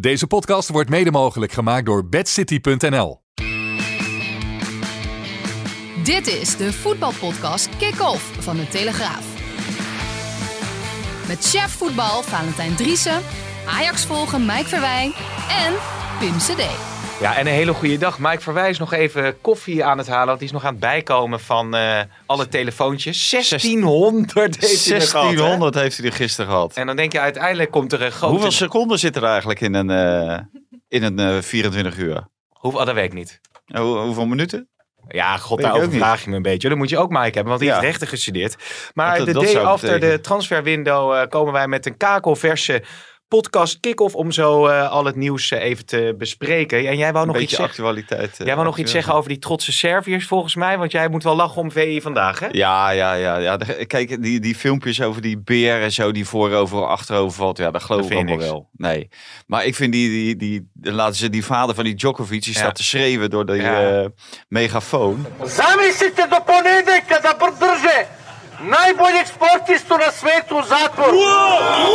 Deze podcast wordt mede mogelijk gemaakt door bedcity.nl. Dit is de voetbalpodcast Kick-Off van de Telegraaf. Met chef voetbal Valentijn Driessen, Ajax volgen Mike Verwijn en Pim CD. Ja, en een hele goede dag. Mike Verwijs nog even koffie aan het halen. Want die is nog aan het bijkomen van eh, alle telefoontjes. 1600 heeft hij er gehad, hè? 1600 heeft hij er gisteren gehad. En dan denk je uiteindelijk komt er een grote... Hoeveel seconden zit er eigenlijk in een, eh, in een eh, 24 uur? Hoeveel, oh, dat weet ik niet. Eh, hoe- hoeveel minuten? Ja, god, Weet ik daarover ook niet. vraag je me een beetje. Dan moet je ook Mike hebben, want die Ja. heeft rechten gestudeerd. Maar Dat- de dat day zou after de betekenen. transferwindow eh, komen wij met een kakelverse podcast kick-off... om zo eh, al het nieuws eh, even te bespreken. En jij wou Een nog iets beetje zeggen? actualiteit. eh, Jij wou nog iets zeggen actueel. over die trotse Serviërs volgens mij? Want jij moet wel lachen om VI vandaag, hè? Ja, ja, ja. ja. De- Kijk, die, die filmpjes over die beer en zo die voorover en achterover valt. Ja, dat geloof Dat ik vind je allemaal wel. Nee. Maar ik vind die, die, die, dan laten ze die vader van die Djokovic, die Ja. staat te schreeuwen door die Ja. eh, megafoon. Zamislite do ponedjeljka da drže najboljeg sportistu na svetu u zatvoru.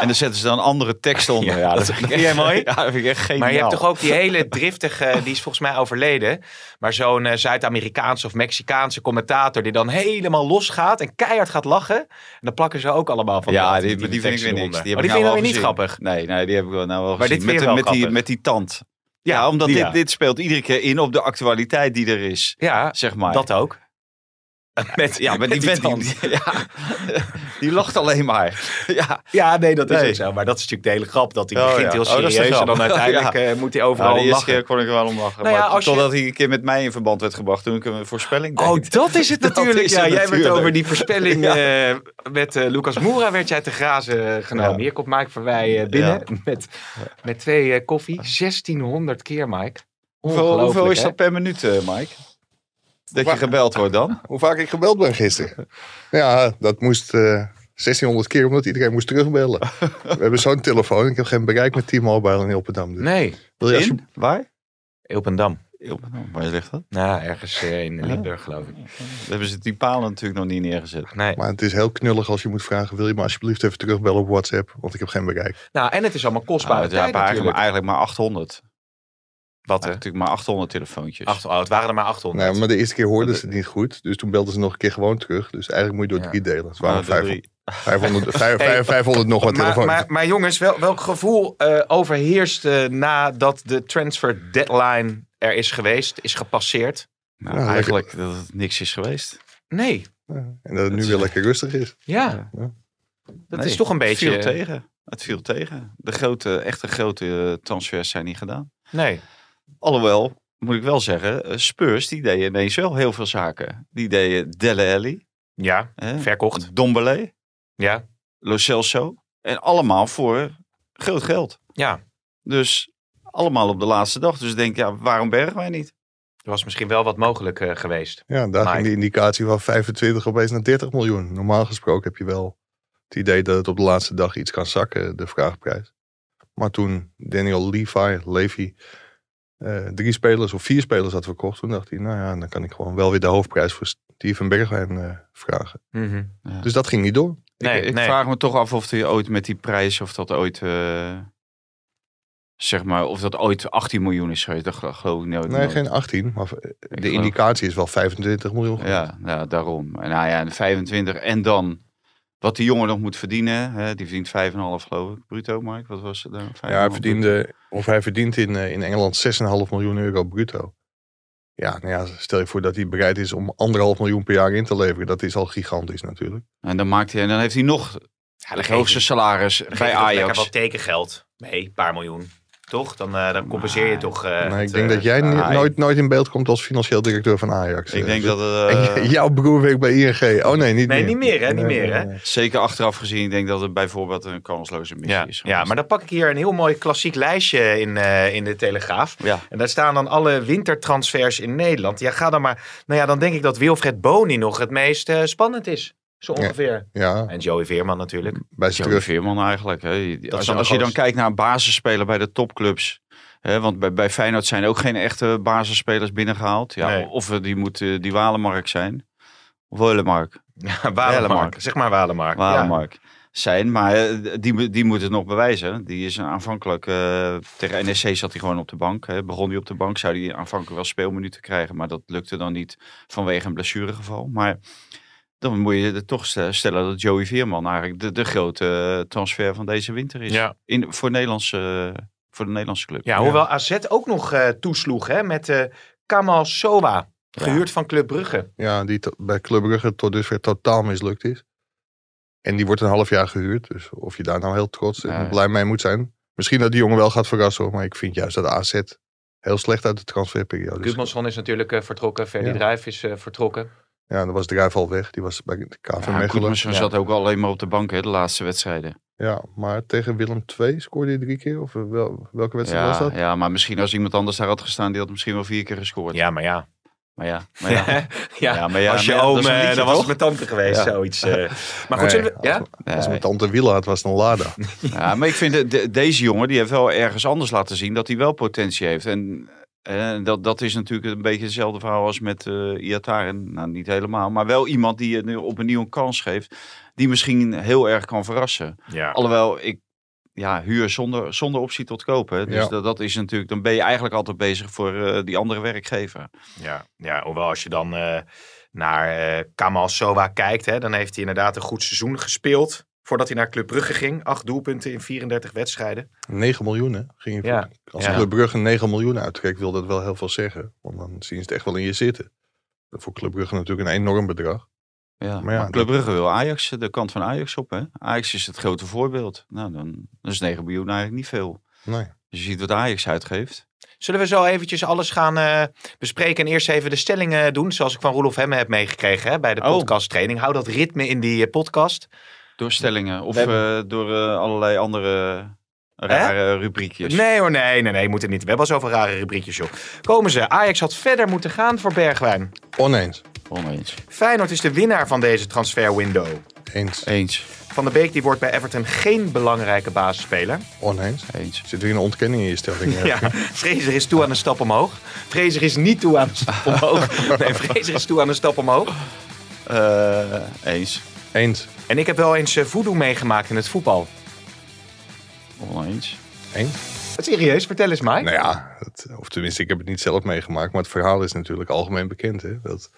En dan zetten ze dan andere tekst onder. Ja, Ja, dat vind jij mooi? Ja, dat vind ik echt geniaal. Maar je hebt toch ook die hele driftige, die is volgens mij overleden. Maar zo'n eh, Zuid-Amerikaanse of Mexicaanse commentator die dan helemaal losgaat en keihard gaat lachen. En dan plakken ze ook allemaal van ja, dat, die, die, vind ik teksten weer niks. eronder. heb Oh, die ik vind je nou dan weer niet al grappig. gezien. Nee, nee, die heb ik wel nou wel Maar dit gezien. vind je wel met, met, die, grappig. met die tand. Ja, Ja, omdat die, dit, ja. dit speelt iedere keer in op de actualiteit die er is. Ja, Zeg maar. dat ook. Met, ja, maar die, met vent die, tand. die- ja, die lacht alleen maar. Ja, Ja, nee, dat is Nee. ook zo. Maar dat is natuurlijk de hele grap. Dat hij Oh, begint ja. heel Oh, dat is de serieus en grap. dan uiteindelijk Ja. Nou, eh, moet hij overal de eerste lachen. keer kon ik er wel om lachen. Nou ja, maar als je- totdat hij een keer met mij in verband werd gebracht toen ik een voorspelling deed. Oh, dat is het Dat natuurlijk. is ja, het jij werd natuurlijk. over die voorspelling Ja. eh, met eh, Lucas Moura werd jij te grazen eh, genomen. Ja. Hier komt Mike Verwij eh, binnen met, met twee eh, koffie. 1600 keer, Mike. hoeveel, hoeveel Ongelooflijk, is hè? dat per minuut, eh, Mike? Dat je gebeld wordt dan? hoe vaak ik gebeld ben gisteren. Ja, dat moest eh, 1600 keer, omdat iedereen moest terugbellen. We hebben zo'n telefoon. Ik heb geen bereik met T-Mobile in Opendam. Dus Nee. wil je alsjeblieft- In? Waar? Ilpendam. Waar ligt dat? Nou, ergens eh, in Limburg, geloof ik. Dat hebben ze die palen natuurlijk nog niet neergezet. Nee. Maar het is heel knullig als je moet vragen, wil je me alsjeblieft even terugbellen op WhatsApp? Want ik heb geen bereik. Nou, en het is allemaal Maar kostbare het tijd waren Ah, eigenlijk, maar natuurlijk. eigenlijk maar 800. Wat, hè? Eigenlijk natuurlijk maar 800 telefoontjes. Acht, oh, het waren er maar 800. Nee, Nou, maar de eerste keer hoorden ze het niet goed. Dus toen belden ze nog een keer gewoon terug. Dus eigenlijk moet je door Ja. Ah, drie delen. Het Maar waren de 500, drie- 500, vijf- vijf- 500 nog wat Maar, telefoons. maar, maar jongens, wel, welk gevoel eh, overheerst eh, nadat de transfer deadline er is geweest, is gepasseerd? Nou, Ja, eigenlijk dat het niks is geweest. Nee, Ja, en dat het nu weer lekker rustig is. ja. Ja. Dat Nee, is toch een beetje... Het viel tegen. Het viel tegen. De grote, echte grote eh, transfers zijn niet gedaan. Nee. Alhoewel, moet ik wel zeggen, eh, Spurs die deden ineens wel heel veel zaken. Die deden Dele Alli, Ja, hè, verkocht. Dombele, Ja, Lo Celso. En allemaal voor groot geld. ja. Dus allemaal op de laatste dag. Dus ik denk, ja, waarom bergen wij niet? Er was misschien wel wat mogelijk eh, geweest. Ja, daar Maar- ging de indicatie van 25 opeens naar 30 miljoen. Normaal gesproken heb je wel het idee dat het op de laatste dag iets kan zakken, de vraagprijs. Maar toen Daniel Levi, Levy, eh, drie spelers of vier spelers had verkocht, toen dacht hij, nou ja, dan kan ik gewoon wel weer de hoofdprijs voor Steven Bergwijn eh, vragen. Dus dat ging niet door. Nee, Mhm. ik ik nee. vraag me toch af of die ooit met die prijs, of dat ooit, eh, zeg maar, of dat ooit 18 miljoen is geweest. Dat gel- geloof ik nooit. Nee, nooit. geen 18, maar eh, de Nou. geloof- indicatie is wel 25 miljoen. Ja, ja, daarom. En nou ja, en 25 en dan wat die jongen nog moet verdienen. Hè, die verdient 5,5 geloof ik, bruto, Mark. Wat was het dan? Ja, hij verdiende, of hij verdient in, eh, in Engeland 6,5 miljoen euro bruto. Ja, nou ja, stel je voor dat hij bereid is om anderhalf miljoen per jaar in te leveren. Dat is al gigantisch natuurlijk. En dan, maakt hij, en dan heeft hij nog het hoogste salaris bij Lekker Ajax. wat tekengeld. Nee, een paar miljoen. Toch? Dan, eh, dan compenseer je toch... eh, Maar het, ik denk dat eh, jij ni- hij- nooit, nooit in beeld komt als financieel directeur van Ajax. Ik eh, denk zo. dat het, eh, En j- jouw broer werkt bij ING. Oh nee, niet Nee, meer. niet meer, hè? Niet Nee, meer, nee, hè? nee. zeker achteraf gezien, ik denk dat het bijvoorbeeld een kansloze missie Ja, is. ja, maar dan pak ik hier een heel mooi klassiek lijstje in, eh, in de Telegraaf. Ja. En daar staan dan alle wintertransfers in Nederland. Ja, ga dan maar... Nou ja, dan denk ik dat Wilfred Boni nog het meest eh, spannend is. Zo Ja. ongeveer. Ja, En Joey Veerman natuurlijk. bij zijn Joey terug. Veerman eigenlijk. Hè. Als, zijn de als je dan grootste. kijkt naar een basisspeler bij de topclubs. Hè, want bij, bij Feyenoord zijn ook geen echte basisspelers binnengehaald. Ja, Nee. Of eh, die moet eh, die Walemark zijn. Of Walemark. Walemark. Zeg maar Walemark. Ja. Walemark. zijn. Maar eh, die, die moet het nog bewijzen. Die is aanvankelijk... eh, tegen NEC zat hij gewoon op de bank. Hè. Begon hij op de bank, zou hij aanvankelijk wel speelminuten krijgen. Maar dat lukte dan niet vanwege een blessuregeval. Maar dan moet je er toch st- stellen dat Joey Veerman eigenlijk de, de grote eh, transfer van deze winter is. Ja. In, voor, Nederlandse, eh, voor de Nederlandse club. Ja, hoewel AZ ook nog eh, toesloeg hè, met eh, Kamal Sowa, gehuurd van Club Brugge. Ja, die to- bij Club Brugge tot dusver totaal mislukt is. En die wordt een half jaar gehuurd. Dus of je daar nou heel trots en Ja. blij mee moet zijn. Misschien dat die jongen wel gaat verrassen hoor. Maar ik vind juist dat AZ heel slecht uit de transferperiode is. Gudmundsson is natuurlijk eh, vertrokken, Ferdi Ja. Drijf is eh, vertrokken. Ja, dan was Drijf al weg. Die was bij de KV Ja, Mechelen. Koedmersen Ja. zat ook alleen maar op de bank hè, de laatste wedstrijden. Ja, maar tegen Willem II scoorde hij drie keer. Of eh, wel, welke wedstrijd was Ja, dat? ja, maar misschien als iemand anders daar had gestaan, die had misschien wel vier keer gescoord. Ja, maar ja. Maar ja, maar ja. ja. Ja, maar ja, als je maar ja, dat oom, is een eh, liedje, dan was het toch? mijn tante geweest, Ja. zoiets. eh. Maar goed, Nee, zullen we... als- Ja? Als Nee. mijn tante Wiela had, was het een Lada. Ja, maar ik vind de- de- deze jongen, die heeft wel ergens anders laten zien dat hij wel potentie heeft. En eh, dat, dat is natuurlijk een beetje hetzelfde verhaal als met eh Iataren. Nou, niet helemaal, maar wel iemand die je nu opnieuw een kans geeft. Die misschien heel erg kan verrassen. Ja. Alhoewel, ik ja, huur zonder, zonder optie tot kopen. hè. Dus Ja. dat, dat is natuurlijk, dan ben je eigenlijk altijd bezig voor eh, die andere werkgever. Ja, ja, hoewel als je dan eh, naar eh, Kamal Sowa kijkt, hè, dan heeft hij inderdaad een goed seizoen gespeeld. Voordat hij naar Club Brugge ging. Acht doelpunten in 34 wedstrijden. 9 miljoen, hè? Ging je Ja, voor- Als ja. Club Brugge 9 miljoen uittrekt, wil dat wel heel veel zeggen. Want dan zien ze het echt wel in je zitten. Voor Club Brugge natuurlijk een enorm bedrag. Ja, maar Maar ja, Club dat- Brugge wil Ajax, eh, de kant van Ajax op. Hè? Ajax is het grote voorbeeld. Nou, dan, dan is 9 miljoen eigenlijk niet veel. Nee. Dus je ziet wat Ajax uitgeeft. Zullen we zo eventjes alles gaan eh, bespreken en eerst even de stellingen doen. Zoals ik van Roelof Hemme heb meegekregen hè, bij de Oh. podcasttraining. Hou dat ritme in die eh, podcast. Door stellingen of We eh, door eh, allerlei andere rare rubriekjes. Nee hoor, nee, nee, nee. Moet het niet. We hebben al zoveel rare rubriekjes, joh. Komen ze. Ajax had verder moeten gaan voor Bergwijn. Oneens. Oneens. Feyenoord is de winnaar van deze transferwindow. Eens. Eens. Van der Beek die wordt bij Everton geen belangrijke basisspeler. Oneens. Eens. Zit weer een ontkenning in je stelling? hè? Ja, Fraser is toe aan een stap omhoog. Fraser is niet toe aan een stap omhoog. Nee, Fraser is toe aan een stap omhoog. Eh, eens. Eens. En ik heb wel eens eh, voodoo meegemaakt in het voetbal. Oneens. Eens? Serieus, vertel eens Mike. Nou ja, het- of tenminste, ik heb het niet zelf meegemaakt. Maar het verhaal is natuurlijk algemeen bekend. Hè? Dat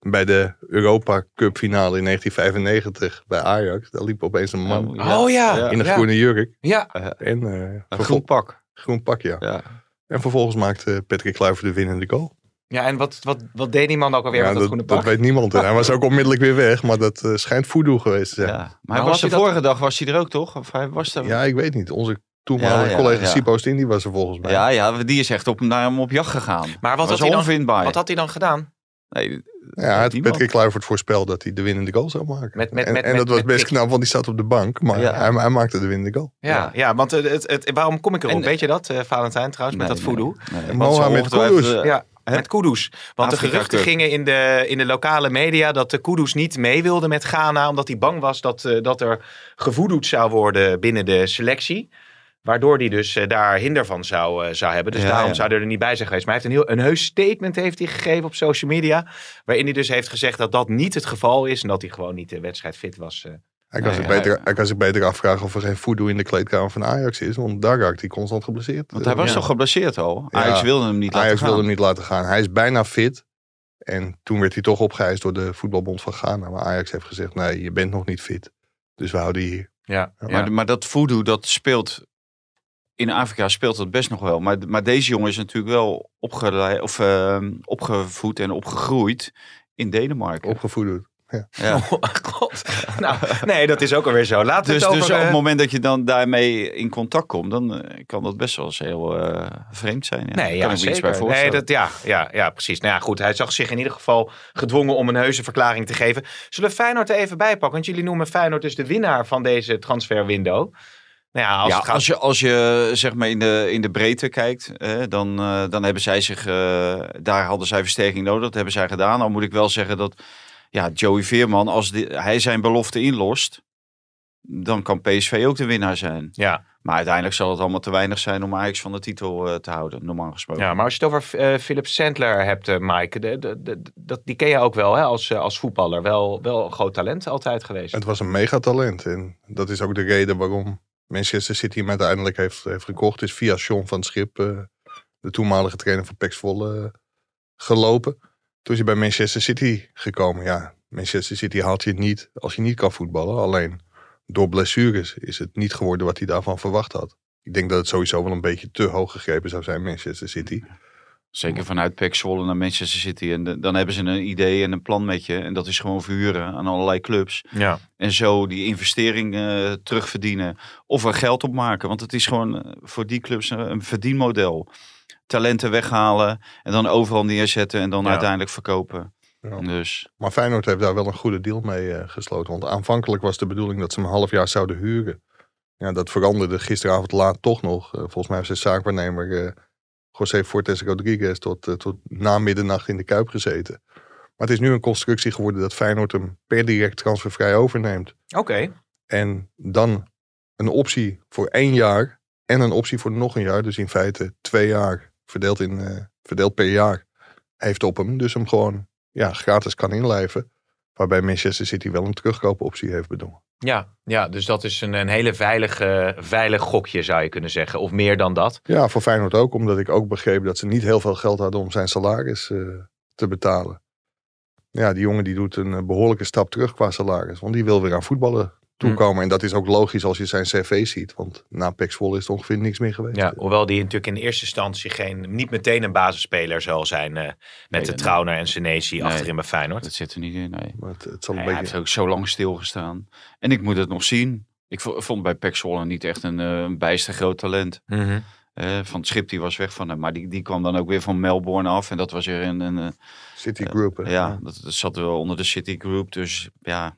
bij de Europa Cup finale in 1995 bij Ajax, daar liep opeens een man Oh, Oh ja. Ja. in een ja. groene jurk. Ja. En, eh, Een vervol- groen pak. groen pak, ja. Ja. En vervolgens maakte Patrick Kluivert de winnende goal. ja, en wat, wat, wat deed die man ook alweer Ja, met dat, dat, groene dat pak? weet niemand. En hij was ook onmiddellijk weer weg, maar dat eh, schijnt voodoo geweest te zijn. Ja. Ja. Maar, Maar hij was was de hij dat- vorige dag was hij er ook toch? Of hij was er... ik weet niet. Onze toenmalige Ja, ja, collega ja. Sipo Stindi was er volgens mij. ja, ja, die is echt op, naar hem op jacht gegaan. Maar wat was had, hij dan, onvindbaar. wat had hij dan gedaan? Nee, Ja, het niemand. Patrick Kluivert voorspelde dat hij de winnende goal zou maken. Met- met- en, met- en met- dat was met best kick. knap, want die zat op de bank. Maar Ja. hij, hij maakte de winnende goal. Ja, ja. Ja. want het, het, het- waarom kom ik erop? En- weet je dat, eh, Valentijn trouwens, met nee, dat voodoo? nee, nee. En Want zo Mohamed ongetwijfeld, Kudus. eh, Ja, met Kudus. Want de Afrika geruchten Cup. gingen in de, in de lokale media dat de Kudus niet mee wilde met Ghana. Omdat hij bang was dat, eh, dat er gevoedoed zou worden binnen de selectie. Waardoor hij dus eh, daar hinder van zou, eh, zou hebben. Dus Ja, daarom ja. zou hij er niet bij zijn geweest. Maar hij heeft een, heel, een heus statement heeft hij gegeven op social media. Waarin hij dus heeft gezegd dat dat niet het geval is. En dat hij gewoon niet de wedstrijd fit was. eh. Hij kan, Nee, zich hij- beter, hij kan zich beter afvragen of er geen voodoo in de kleedkamer van Ajax is. Want daar raakt hij constant geblesseerd. Want hij was Ja. toch geblesseerd al? Ja. Ajax wilde hem niet laten Ajax gaan. wilde hem niet laten gaan. Hij is bijna fit. En toen werd hij toch opgeëist door de voetbalbond van Ghana. Maar Ajax heeft gezegd, nee, je bent nog niet fit. Dus we houden je hier. Ja, ja. Maar, maar dat voodoo, dat speelt... In Afrika speelt dat best nog wel. Maar, maar deze jongen is natuurlijk wel opgeleid, of, eh, opgevoed en opgegroeid in Denemarken. Opgevoed. Ja. Oh, god. Nou, nee, dat is ook alweer zo. Laten we Dus, het over... dus op eh, het moment dat je dan daarmee in contact komt, dan eh, kan dat best wel eens heel eh, vreemd zijn. Ja. Nee, kan ja, ik me iets zeker. bij voorstellen. nee, dat, ja, ja, ja, precies. Nou ja, goed, hij zag zich in ieder geval gedwongen om een heuse verklaring te geven. Zullen we Feyenoord er even bij pakken? Want jullie noemen Feyenoord dus de winnaar van deze transferwindow. Nou ja, als ja, het gaat... als, je, als je zeg maar in de, in de breedte kijkt, eh, dan, eh, dan hebben zij zich, eh, daar hadden zij versterking nodig. Dat hebben zij gedaan. Al moet ik wel zeggen dat ja, Joey Veerman, als die- hij zijn belofte inlost, dan kan PSV ook de winnaar zijn. Ja, Maar uiteindelijk zal het allemaal te weinig zijn om Ajax van de titel eh, te houden, normaal gesproken. Ja, maar als je het over eh, Philip Sandler hebt, eh, Mike, de, de, de- dat, die ken je ook wel hè, als, eh, als voetballer. Wel, wel een groot talent altijd geweest. Het was een megatalent. En dat is ook de reden waarom Manchester City hem uiteindelijk heeft, heeft gekocht. Is via Sean van het Schip, eh, de toenmalige trainer van PEC Zwolle, eh, gelopen. Toen is hij bij Manchester City gekomen. Ja, Manchester City haalt je het niet als je niet kan voetballen. Alleen door blessures is het niet geworden wat hij daarvan verwacht had. Ik denk dat het sowieso wel een beetje te hoog gegrepen zou zijn, Manchester City. Zeker vanuit PEC Zwolle naar Manchester City. En de- dan hebben ze een idee en een plan met je. En dat is gewoon verhuren aan allerlei clubs. Ja. En zo die investering eh, terugverdienen. Of er geld op maken. Want het is gewoon eh, voor die clubs een- een verdienmodel. Talenten weghalen. En dan overal neerzetten. En dan Ja. uiteindelijk verkopen. Ja. Dus Maar Feyenoord heeft daar wel een goede deal mee eh, gesloten. Want aanvankelijk was de bedoeling dat ze hem een half jaar zouden huren. Ja, dat veranderde gisteravond laat toch nog. Eh, volgens mij heeft zijn zaakwaarnemer eh, José Fortes Rodriguez tot, eh, tot na middernacht in de Kuip gezeten. Maar het is nu een constructie geworden dat Feyenoord hem per direct transfervrij overneemt. Oké. En dan een optie voor één jaar en een optie voor nog een jaar. Dus in feite twee jaar verdeeld, in, eh, verdeeld per jaar heeft op hem. Dus hem gewoon ja, gratis kan inlijven. Waarbij Manchester City wel een terugkoopoptie heeft bedongen. Ja, ja, dus dat is een, een hele veilige, veilig gokje zou je kunnen zeggen. Of meer dan dat. Ja, voor Feyenoord ook. Omdat ik ook begreep dat ze niet heel veel geld hadden om zijn salaris eh, te betalen. Ja, die jongen die doet een eh, behoorlijke stap terug qua salaris. Want die wil weer aan voetballen toekomen. En dat is ook logisch als je zijn cv ziet. Want na Pek Zwolle is het ongeveer niks meer geweest. Ja, hoewel die natuurlijk in eerste instantie geen, niet meteen een basisspeler zal zijn. eh, met de dat- Trauner en Senesi Nee. achterin bij Feyenoord. dat zit er niet in. Nee. Maar het, het zal een Hij beetje... heeft ook zo lang stilgestaan. En ik moet het nog zien. Ik vo- vond bij PEC Zwolle niet echt een, eh, een bijster groot talent. Mhm. Eh, van het schip die was weg van hem. Maar die, die kwam dan ook weer van Melbourne af. En dat was weer een... een, eh, City Group. hè? ja, dat, dat zat wel onder de City Group. Dus ja,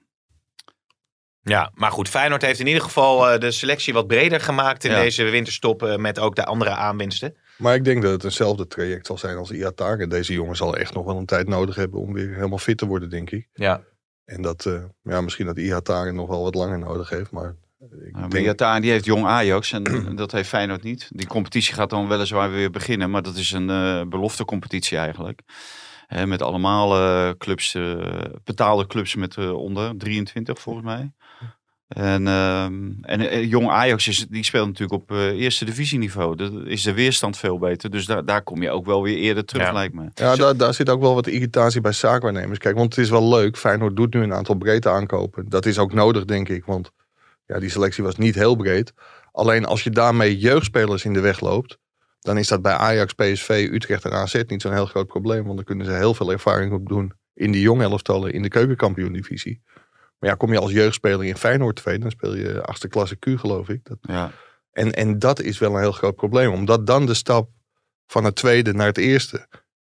Ja, maar goed, Feyenoord heeft in ieder geval eh, de selectie wat breder gemaakt in Ja. deze winterstop. eh, met ook de andere aanwinsten. Maar ik denk dat het eenzelfde traject zal zijn als Iataren. Deze jongen zal echt nog wel een tijd nodig hebben om weer helemaal fit te worden, denk ik. Ja. En dat, eh, ja, misschien dat Iataren nog wel wat langer nodig heeft. Maar ik Nou, denk, Miyata, die heeft jong Ajax en dat heeft Feyenoord niet. Die competitie gaat dan weliswaar weer beginnen, maar dat is een eh beloftecompetitie eigenlijk. Hè, met allemaal eh, clubs, eh, betaalde clubs met eh, onder 23 volgens mij. En, ehm, en eh, jong Ajax is, die speelt natuurlijk op eh, eerste divisieniveau. Dat is de weerstand veel beter. Dus daar, daar kom je ook wel weer eerder terug, Ja. lijkt me. ja, daar, daar zit ook wel wat irritatie bij zaakwaarnemers. Kijk, want het is wel leuk. Feyenoord doet nu een aantal breedte aankopen. Dat is ook nodig, denk ik. Want ja, die selectie was niet heel breed. Alleen als je daarmee jeugdspelers in de weg loopt... dan is dat bij Ajax, PSV, Utrecht en AZ niet zo'n heel groot probleem. Want dan kunnen ze heel veel ervaring op doen in de jong elftallen in de keukenkampioen-divisie. Maar ja, kom je als jeugdspeler in Feyenoord 2, dan speel je achtste klasse Q, geloof ik. Dat, Ja. en, en dat is wel een heel groot probleem, omdat dan de stap van het tweede naar het eerste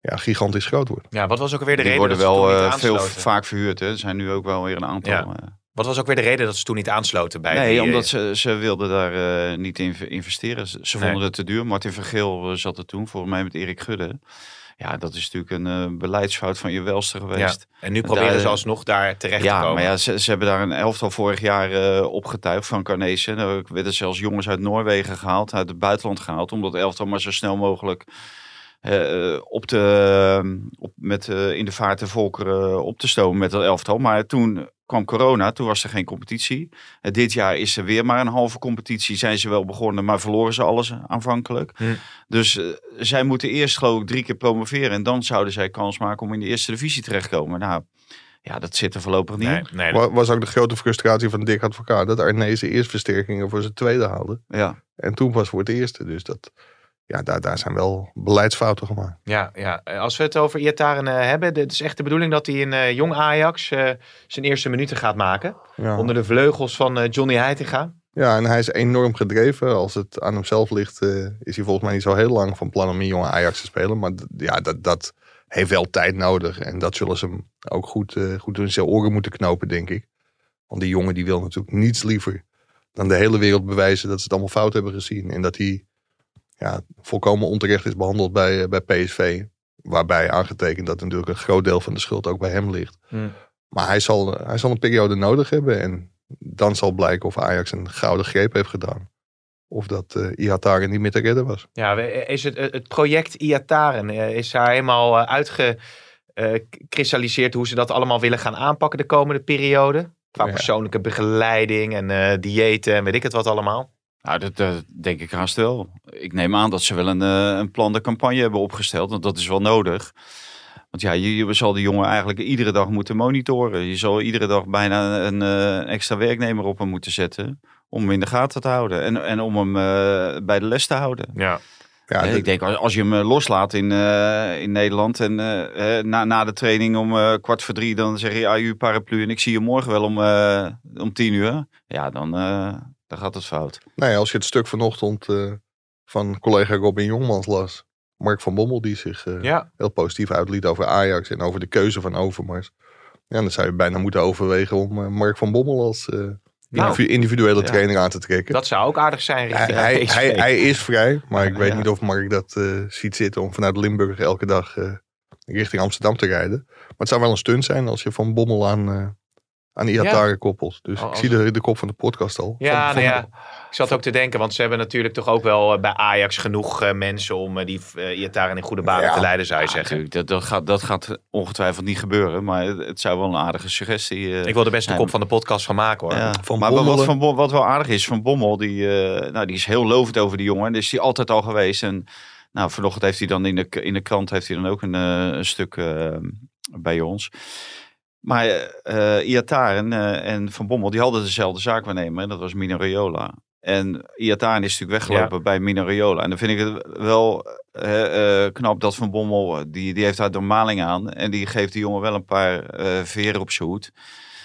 ja, gigantisch groot wordt. ja, wat was ook weer de Die reden dat worden ze toen wel niet eh, veel aansloten? vaak verhuurd. Hè. Er zijn nu ook wel weer een aantal... Ja. eh, Wat was ook weer de reden dat ze toen niet aansloten bij nee, die, eh, omdat ze, ze wilden daar eh, niet in investeren. Ze, ze vonden Nee. het te duur. Martin van Geel eh, zat er toen, volgens mij met Erik Gudde. Ja, dat is natuurlijk een eh, beleidsfout van je welste Ja. geweest. En nu proberen Daar- ze alsnog daar Ja, terecht te komen. maar ja, ze, ze hebben daar een elftal vorig jaar eh, opgetuigd van Carnese. Er werden zelfs jongens uit Noorwegen gehaald, uit het buitenland gehaald. Om dat elftal maar zo snel mogelijk eh, eh, op de, op, met, eh, in de vaart te volkeren eh, op te stomen met dat elftal. Maar toen kwam corona, toen was er geen competitie. Eh, dit jaar is er weer maar een halve competitie. Zijn ze wel begonnen, maar verloren ze alles aanvankelijk. Hm. Dus eh, zij moeten eerst geloof ik drie keer promoveren. En dan zouden zij kans maken om in de eerste divisie terecht te komen. Nou, ja, dat zit er voorlopig niet nee, in. nee, Wa- Was ook de grote frustratie van Dick Advocaat dat Arnezen eerst versterkingen voor zijn tweede haalde. Ja. En toen pas voor het eerste. Dus dat, ja, daar, daar zijn wel beleidsfouten gemaakt. Ja, ja, eh, als we het over Iataren eh, hebben, het is echt de bedoeling dat hij in eh, jong Ajax eh, zijn eerste minuten gaat maken. Ja. Onder de vleugels van eh, Johnny Heitinga. Ja, en hij is enorm gedreven. Als het aan hemzelf ligt, eh, is hij volgens mij niet zo heel lang van plan om in jonge Ajax te spelen. Maar d- ja, dat, dat heeft wel tijd nodig. En dat zullen ze hem ook goed, eh, goed in zijn oren moeten knopen, denk ik. Want die jongen die wil natuurlijk niets liever dan de hele wereld bewijzen dat ze het allemaal fout hebben gezien. En dat hij ja, volkomen onterecht is behandeld bij, eh, bij PSV. Waarbij aangetekend dat natuurlijk een groot deel van de schuld ook bij hem ligt. Hmm. Maar hij zal, eh, hij zal een periode nodig hebben. En dan zal blijken of Ajax een gouden greep heeft gedaan. Of dat eh Ihatare niet meer te redden was. Ja, we- eh, is het, het project Iataren eh, is daar helemaal eh, uitgekristalliseerd hoe ze dat allemaal willen gaan aanpakken de komende periode? Qua Ja. persoonlijke begeleiding en eh, diëten en weet ik het wat allemaal. Nou, dat, dat denk ik haast wel. Ik neem aan dat ze wel een, eh, een plan de campagne hebben opgesteld. Want dat is wel nodig. Want ja, je, je zal die jongen eigenlijk iedere dag moeten monitoren. Je zal iedere dag bijna een eh, extra werknemer op hem moeten zetten. Om hem in de gaten te houden. En, en om hem eh, bij de les te houden. Ja. Ja, Hè, dat- ik denk, als als je hem eh, loslaat in, eh, in Nederland en eh, eh, na, na de training om eh, kwart voor drie, dan zeg je, ah, uw paraplu en ik zie je morgen wel om, eh, om tien uur. Ja, dan, eh, dan gaat het fout. Nou ja, als je het stuk vanochtend eh, van collega Robin Jongmans las. Mark van Bommel die zich eh, Ja. heel positief uitliet over Ajax en over de keuze van Overmars. Ja, dan zou je bijna moeten overwegen om eh, Mark van Bommel als eh, Nou, individu- individuele ja. trainer aan te trekken. dat zou ook aardig zijn. hij, richting hij, PSV. hij, hij is vrij, maar ik Ja, weet ja. niet of Mark dat eh, ziet zitten om vanuit Limburg elke dag eh, richting Amsterdam te rijden. Maar het zou wel een stunt zijn als je van Bommel aan, eh aan Iatare koppelt. Dus Al- ik zie als- de, de kop van de podcast al. Ja, van, van- nou ja. Ik zat ook te denken, want ze hebben natuurlijk toch ook wel eh, bij Ajax genoeg eh, mensen om eh, die eh Iataren in goede banen Ja. te leiden, zou je Ja, zeggen. natuurlijk, dat, dat, gaat, dat gaat ongetwijfeld niet gebeuren, maar het, het zou wel een aardige suggestie. eh, Ik wil er best de Ja, kop van de podcast van maken hoor. ja. Van maar Bommel, wat, hè? van, Bo- wat wel aardig is, Van Bommel, die, eh, nou, die is heel lovend over die jongen. En is die altijd al geweest. En nou, vanochtend heeft hij dan in de, k- in de krant heeft hij dan ook een, eh, een stuk eh, bij ons. Maar eh eh, Iataren eh, en Van Bommel, die hadden dezelfde zaakwaarnemer. En dat was Mino Raiola. En Iataren is natuurlijk weggelopen bij Mino Raiola. En dan vind ik het wel eh, eh, knap dat Van Bommel, die, die heeft daar de maling aan. En die geeft die jongen wel een paar eh, veren op zijn hoed.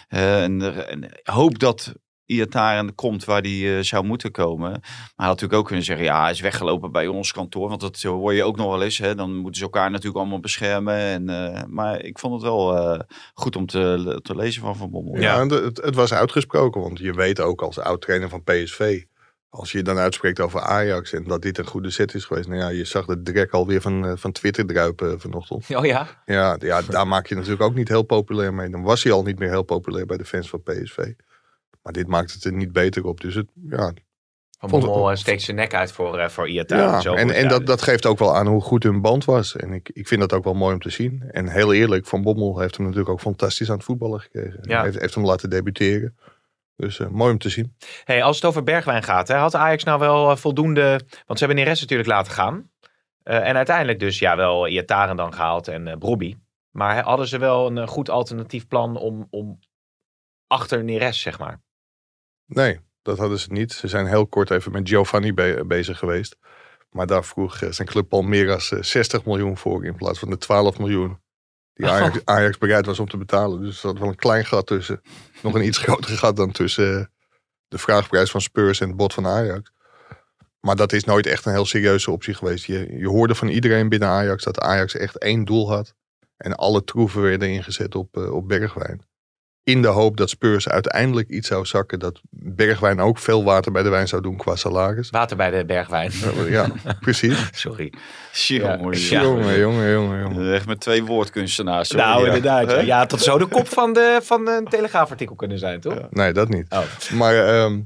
Eh, en, er- en hoop dat Iataren komt waar die eh, zou moeten komen. Maar hij had natuurlijk ook kunnen zeggen, ja, hij is weggelopen bij ons kantoor. Want dat eh, hoor je ook nog wel eens. Hè. Dan moeten ze elkaar natuurlijk allemaal beschermen. En, eh, maar ik vond het wel eh, goed om te, te lezen van Van Bommel. Ja, en de- het, het was uitgesproken, want je weet ook als oud-trainer van PSV, als je je dan uitspreekt over Ajax en dat dit een goede set is geweest. Nou ja, je zag de drek alweer van, eh, van Twitter druipen eh, vanochtend. Oh ja? Ja, d- ja, daar maak je natuurlijk ook niet heel populair mee. Dan was hij al niet meer heel populair bij de fans van PSV. Maar dit maakt het er niet beter op. Dus het, ja, Van Vond- Bommel eh, steekt zijn nek uit voor, eh voor Iataren. ja. Zo en, wordt en het dat, dat geeft ook wel aan hoe goed hun band was. En ik, ik vind dat ook wel mooi om te zien. En heel eerlijk, Van Bommel heeft hem natuurlijk ook fantastisch aan het voetballen gekregen. Ja. Hij heeft, heeft hem laten debuteren. Dus eh, mooi om te zien. Hey, als het over Bergwijn gaat, hè, had Ajax nou wel eh, voldoende... Want ze hebben Neres natuurlijk laten gaan. Eh, en uiteindelijk dus ja, wel Iataren dan gehaald en eh Brobbey. Maar hè, hadden ze wel een eh, goed alternatief plan om, om achter Neres, zeg maar. Nee, dat hadden ze niet. Ze zijn heel kort even met Giovanni be- bezig geweest. Maar daar vroeg eh, zijn club Palmeiras eh, 60 miljoen voor in plaats van de 12 miljoen die Ajax, Ajax bereid was om te betalen. Dus er zat wel een klein gat tussen. Nog een iets groter gat dan tussen eh, de vraagprijs van Spurs en het bod van Ajax. Maar dat is nooit echt een heel serieuze optie geweest. Je, je hoorde van iedereen binnen Ajax dat Ajax echt één doel had. En alle troeven werden ingezet op, eh, op Bergwijn in de hoop dat Spurs uiteindelijk iets zou zakken. Dat Bergwijn ook veel water bij de wijn zou doen qua salaris. Water bij de Bergwijn. Eh, ja, precies. Sorry. Jongen, Ja. Eh. Jongen, jongen, jongen, jongen. Echt met twee woordkunstenaars. hoor. nou, Ja. inderdaad. Ja. Ja, dat zou de kop van, de, van een telegraafartikel kunnen zijn, toch? Nee, dat niet. Oh. Maar ehm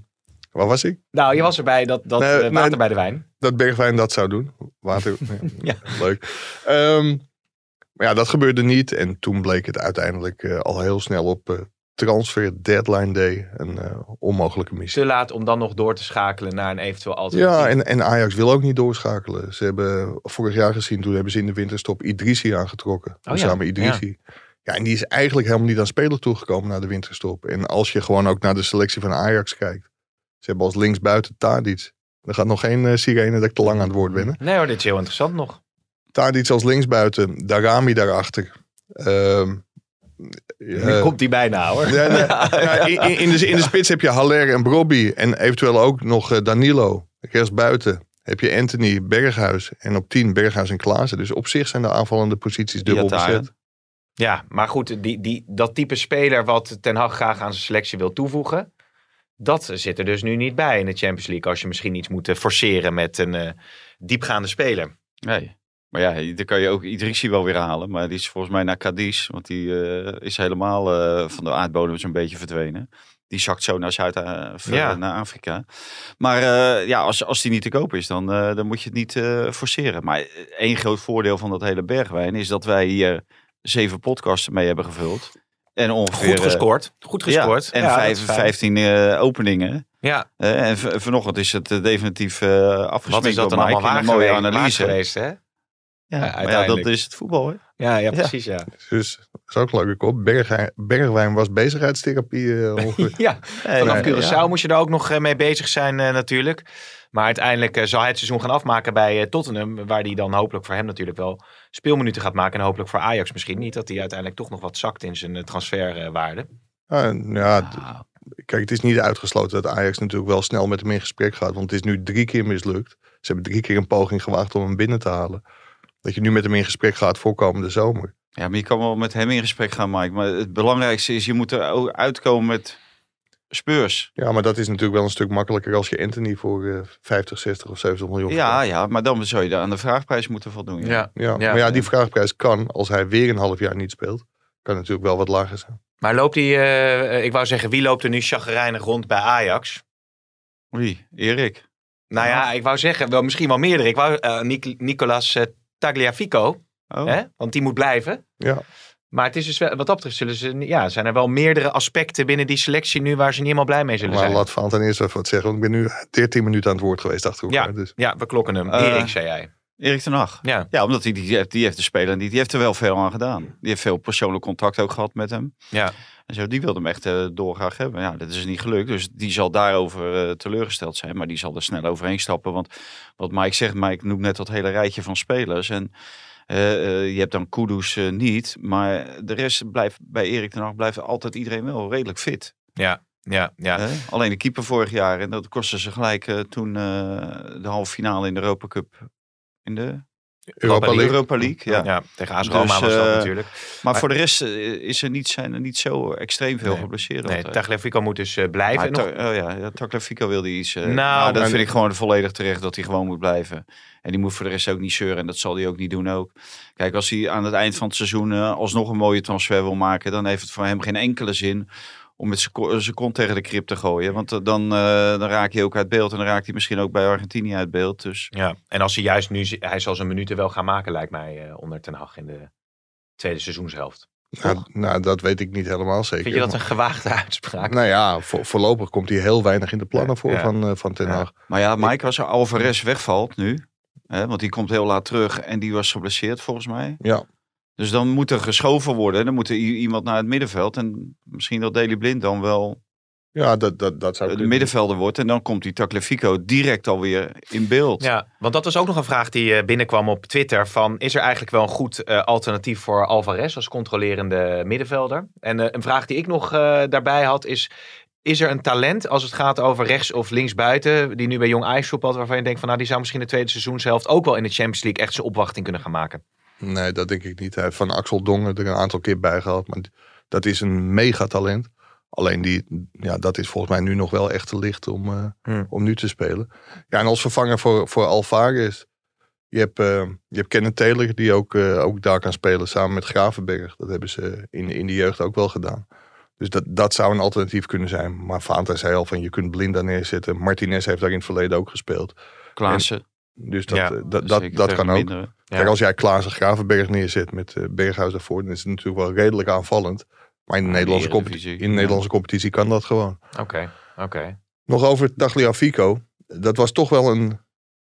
waar was ik? Nou, je was erbij dat, dat Nee, eh, nee. water bij de wijn. Dat Bergwijn dat zou doen. Water. Ja. ja. Leuk. Ehm, maar ja, dat gebeurde niet. En toen bleek het uiteindelijk eh, al heel snel op eh, transfer deadline day een eh, onmogelijke missie. Te laat om dan nog door te schakelen naar een eventueel alternatief. Ja, en, en Ajax wil ook niet doorschakelen. Ze hebben vorig jaar gezien, toen hebben ze in de winterstop Idrisi aangetrokken. ja, samen Idrisi. Oh Ja. en die is eigenlijk helemaal niet aan spelen toegekomen na de winterstop. En als je gewoon ook naar de selectie van Ajax kijkt. Ze hebben als linksbuiten Tadic. Er gaat nog geen eh, sirene dat ik te lang aan het woord ben. hè. Nee hoor, dit is heel interessant nog. Tadic als linksbuiten, Darami daarachter. Ehm nu eh, komt die bijna hoor. ja, nee. Ja, in, in- in, de, in de spits heb je Haller en Brobby. En eventueel ook nog eh, Danilo. Rechtsbuiten heb je Anthony, Berghuis. En op 10 Berghuis en Klaassen. Dus op zich zijn de aanvallende posities dubbel Iataren. bezet. Ja, maar goed, die, die, dat type speler wat Ten Hag graag aan zijn selectie wil toevoegen, dat zit er dus nu niet bij in de Champions League. Als je misschien iets moet eh, forceren met een eh, diepgaande speler. Nee. Maar ja, dan kan je ook Idrissi wel weer halen. Maar die is volgens mij naar Cadiz. Want die eh, is helemaal eh, van de aardbodem zo'n beetje verdwenen. Die zakt zo naar Zuid eh, verder Ja. naar Afrika. Maar eh, ja, als, als die niet te koop is, dan, eh, dan moet je het niet eh, forceren. Maar één groot voordeel van dat hele bergwijn is dat wij hier zeven podcasten mee hebben gevuld. En ongeveer... Goed eh, gescoord. Goed ja, gescoord. en Ja, dat vijf- is fijn. 15 eh, openingen. Ja, Eh, en v- vanochtend is het eh, definitief eh afgesmeed wat is dat door dan Mike allemaal in waar een mooie geweest, analyse. waar geweest, hè? Ja, maar ja, uiteindelijk. dat is het voetbal. Hè? Ja, ja, precies, ja. Dus dat is ook leuk op. Bergwijn, bergwijn was bezigheidstherapie eh ongeveer. Ja, vanaf nee, Curaçao ja. moest je er ook nog eh, mee bezig zijn eh, natuurlijk. Maar uiteindelijk eh, zal hij het seizoen gaan afmaken bij eh, Tottenham. Waar hij dan hopelijk voor hem natuurlijk wel speelminuten gaat maken. En hopelijk voor Ajax misschien niet. Dat hij uiteindelijk toch nog wat zakt in zijn eh, transferwaarde. Ah, nou ja, d- kijk, het is niet uitgesloten dat Ajax natuurlijk wel snel met hem in gesprek gaat. Want het is nu drie keer mislukt. Ze hebben drie keer een poging gewaagd om hem binnen te halen. Dat je nu met hem in gesprek gaat voor komende zomer. Ja, maar je kan wel met hem in gesprek gaan, Mike. Maar het belangrijkste is, je moet er ook uitkomen met speurs. Ja, maar dat is natuurlijk wel een stuk makkelijker als je Anthony voor eh, 50, 60 of 70 miljoen Ja, ja, maar dan zou je daar aan de vraagprijs moeten voldoen. Ja. Ja, Ja. maar ja, die vraagprijs kan, als hij weer een half jaar niet speelt, kan natuurlijk wel wat lager zijn. Maar loopt hij, eh, eh, ik wou zeggen, wie loopt er nu chagrijnig rond bij Ajax? Wie? Erik. Nou ja, ik wou zeggen, wel, misschien wel meerdere. Ik wou eh, Nic- Nicolas eh, Tagliafico, Oh. hè? want die moet blijven. Ja. Maar het is dus wel, wat dat betreft zullen ze, ja, zijn er wel meerdere aspecten binnen die selectie nu waar ze niet helemaal blij mee zullen Maar zijn. laat Van ten eerste even wat zeggen, want ik ben nu 13 minuten aan het woord geweest achter elkaar. Dus. Ja, we klokken hem. Eh, Erik, zei jij. Erik ten Hag. Ja. Ja, omdat hij die, heeft- die heeft de speler niet. Die heeft er wel veel aan gedaan. Die heeft veel persoonlijk contact ook gehad met hem. Ja. En zo, die wilde hem echt eh doorgraag hebben. Ja, dat is niet gelukt. Dus die zal daarover eh, teleurgesteld zijn. Maar die zal er snel overheen stappen. Want wat Mike zegt, Mike noemt net dat hele rijtje van spelers. En eh, eh, je hebt dan Kudus eh, niet. Maar de rest blijft bij Erik ten Hag blijft altijd iedereen wel redelijk fit. Ja, ja. Hè? Alleen de keeper vorig jaar. En dat kostte ze gelijk eh, toen eh, de halve finale in de Europa Cup. In de Europa League. Europa League, ja. ja tegen AS Roma Dus, was dat eh, natuurlijk. Maar Maar- voor de rest eh, is er niet, zijn er niet zo extreem veel Nee. geblesseerd. Nee, altijd. Tagliafico moet dus eh, blijven. Maar Nog- Ta- oh ja, ja, Tagliafico wilde iets. eh, Nou, nou, dat en- vind ik gewoon volledig terecht dat hij gewoon moet blijven. En die moet voor de rest ook niet zeuren. En dat zal hij ook niet doen ook. Kijk, als hij aan het eind van het seizoen eh, alsnog een mooie transfer wil maken... dan heeft het voor hem geen enkele zin om met zijn ko- eh, zijn kont tegen de krip te gooien. Want eh, dan, eh, dan raak je ook uit beeld. En dan raakt hij misschien ook bij Argentinië uit beeld. Dus Ja, en als hij juist nu, hij zal zijn minuten wel gaan maken, lijkt mij, eh, onder Ten Hag in de tweede seizoenshelft. Nou, nou, dat weet ik niet helemaal zeker. Vind je dat maar- een gewaagde uitspraak? Nou ja, vo- voorlopig komt hij heel weinig in de plannen voor Ja. van, eh, van Ten Ja. Hag. Maar ja, Mike, als Alvarez wegvalt nu, hè, want die komt heel laat terug en die was geblesseerd volgens mij. Ja. Dus dan moet er geschoven worden. Dan moet er i- iemand naar het middenveld. En misschien dat Daley Blind dan wel eh, Ja, dat, dat, dat zou de kunnen. middenvelder wordt. En dan komt die Tagliafico direct alweer in beeld. Ja, want dat was ook nog een vraag die eh, binnenkwam op Twitter. Van, is er eigenlijk wel een goed eh, alternatief voor Alvarez als controlerende middenvelder? En eh, een vraag die ik nog eh, daarbij had is... Is er een talent als het gaat over rechts of links buiten... die nu bij Jong Ajax voetbalt, waarvan je denkt van... nou, die zou misschien de tweede seizoenshelft ook wel in de Champions League... echt zijn opwachting kunnen gaan maken? Nee, dat denk ik niet. Hij heeft van Axel Dongen er een aantal keer bij gehad. Maar dat is een megatalent. Alleen die, ja, dat is volgens mij nu nog wel echt te licht om, eh, Hmm. om nu te spelen. Ja, en als vervanger voor, voor Alvarez. Je hebt, eh, je hebt Kenneth Taylor die ook, eh, ook daar kan spelen samen met Gravenberg. Dat hebben ze in, in de jeugd ook wel gedaan. Dus dat, dat zou een alternatief kunnen zijn. Maar Fanta zei al van je kunt Blind daar neerzetten. Martinez heeft daar in het verleden ook gespeeld. Klaassen. Dus dat, Ja, eh, dat, dat, dat kan ook. Ja. Kijk, als jij Klaas en Gravenberg neerzet met eh, Berghuis daarvoor, dan is het natuurlijk wel redelijk aanvallend. Maar in de, Ja, Nederlandse, de competitie, Eredivisie, in de ja. Nederlandse competitie kan dat gewoon. Oké, oké. Nog over Tagliafico. Dat was toch wel een...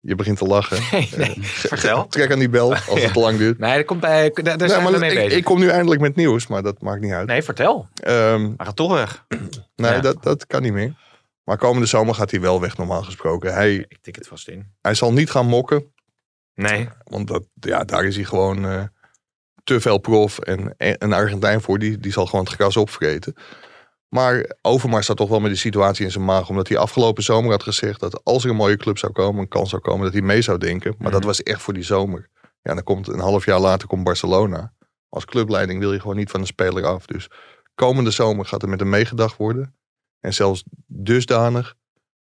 Je begint te lachen. Eh, Vertel. Trek aan die bel als het te lang duurt. Nee, dat komt bij, daar- daar zijn Nee, we maar mee ik, bezig. ik kom nu eindelijk met nieuws, maar dat maakt niet uit. Nee, vertel. Ehm, Maar gaat toch weg. nee, Ja. dat, dat kan niet meer. Maar komende zomer gaat hij wel weg, normaal gesproken. Hij, Ik tik het vast in. hij zal niet gaan mokken. Nee. Want dat, ja, daar is hij gewoon eh, te veel prof. En e- een Argentijn voor, die, die zal gewoon het gras opvreten. Maar Overmars staat toch wel met die situatie in zijn maag. Omdat hij afgelopen zomer had gezegd dat als er een mooie club zou komen, een kans zou komen, dat hij mee zou denken. Maar dat Mhm. was echt voor die zomer. Ja, dan komt een half jaar later komt Barcelona. Als clubleiding wil je gewoon niet van de speler af. Dus komende zomer gaat er met hem meegedacht worden. En zelfs dusdanig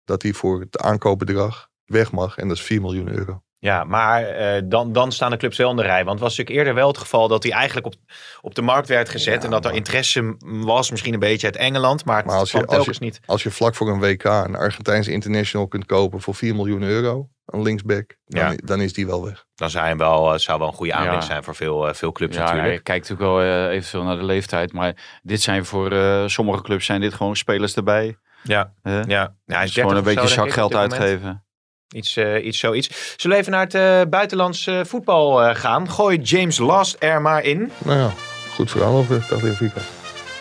dat hij voor het aankoopbedrag weg mag. En dat is 4 miljoen euro. Ja, maar eh, dan, dan staan de clubs wel in de rij. Want het was natuurlijk eerder wel het geval dat hij eigenlijk op, op de markt werd gezet. Ja, en dat er maar- interesse m- was, misschien een beetje uit Engeland. Maar het Maar als je- kwam als je- telkens niet. Als je vlak voor een WK een Argentijnse international kunt kopen voor 4 miljoen euro, een linksback, dan, Ja. dan is die wel weg. Dan zou hij wel, eh, zou wel een goede aanwinst Ja. zijn voor veel, eh, veel clubs Ja, natuurlijk. je kijkt natuurlijk wel even eventueel naar de leeftijd. Maar dit zijn voor eh, sommige clubs zijn dit gewoon spelers erbij. Ja, hè? ja. ja hij is 30 gewoon of een zo, beetje denk ik, op zakgeld dit moment. uitgeven. Iets, eh, iets zoiets. Zullen we even naar het eh, buitenlands eh, voetbal eh, gaan? Gooi James Last er maar in. Nou ja, goed verhaal over Tagliafico.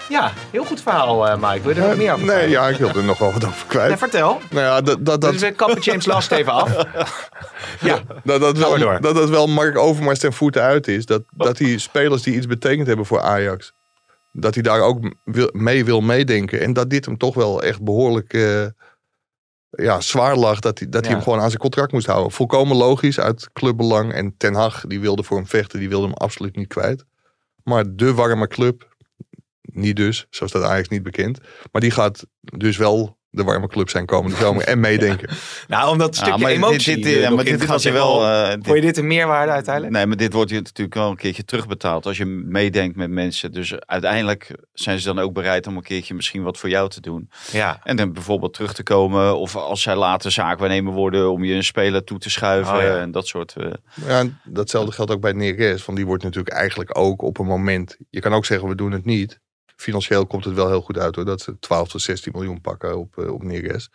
Ja, heel goed verhaal, eh Mike. Wil je er nog meer over nee, vertellen? ja, ik wilde er nog wel wat over Nee, kwijt. vertel. Nou ja, dat, dat, dat, Dus we kappen James Last even af. ja, dat, dat, maar wel, door. Oh. dat, dat wel Mark Overmars ten voeten uit is. Dat, dat die spelers die iets betekend hebben voor Ajax, dat hij daar ook m- wil- mee wil meedenken. En dat dit hem toch wel echt behoorlijk eh, ja, zwaar lag. Dat, hij, dat hij Ja. hem gewoon aan zijn contract moest houden. Volkomen logisch uit clubbelang. En Ten Hag, die wilde voor hem vechten, die wilde hem absoluut niet kwijt. Maar de warme club, niet dus, zo staat Ajax niet bekend. Maar die gaat dus wel de warme club zijn komende zomer en meedenken. nou, om dat Ja, stukje maar dit- emotie dit- eh, ja, nog maar in dit te gaat je zetten. wel... eh, dit- Vond je dit een meerwaarde uiteindelijk? Nee, maar dit wordt je natuurlijk wel een keertje terugbetaald als je meedenkt met mensen. Dus uiteindelijk zijn ze dan ook bereid om een keertje misschien wat voor jou te doen. Ja. En dan bijvoorbeeld terug te komen of als zij later zaakwaarnemer worden om je een speler toe te schuiven Oh, ja. en dat soort. eh, Ja, en datzelfde geldt ook bij Neres. Want die wordt natuurlijk eigenlijk ook op een moment. Je kan ook zeggen, we doen het niet. Financieel komt het wel heel goed uit hoor. Dat ze 12 tot 16 miljoen pakken op, eh, op Neres.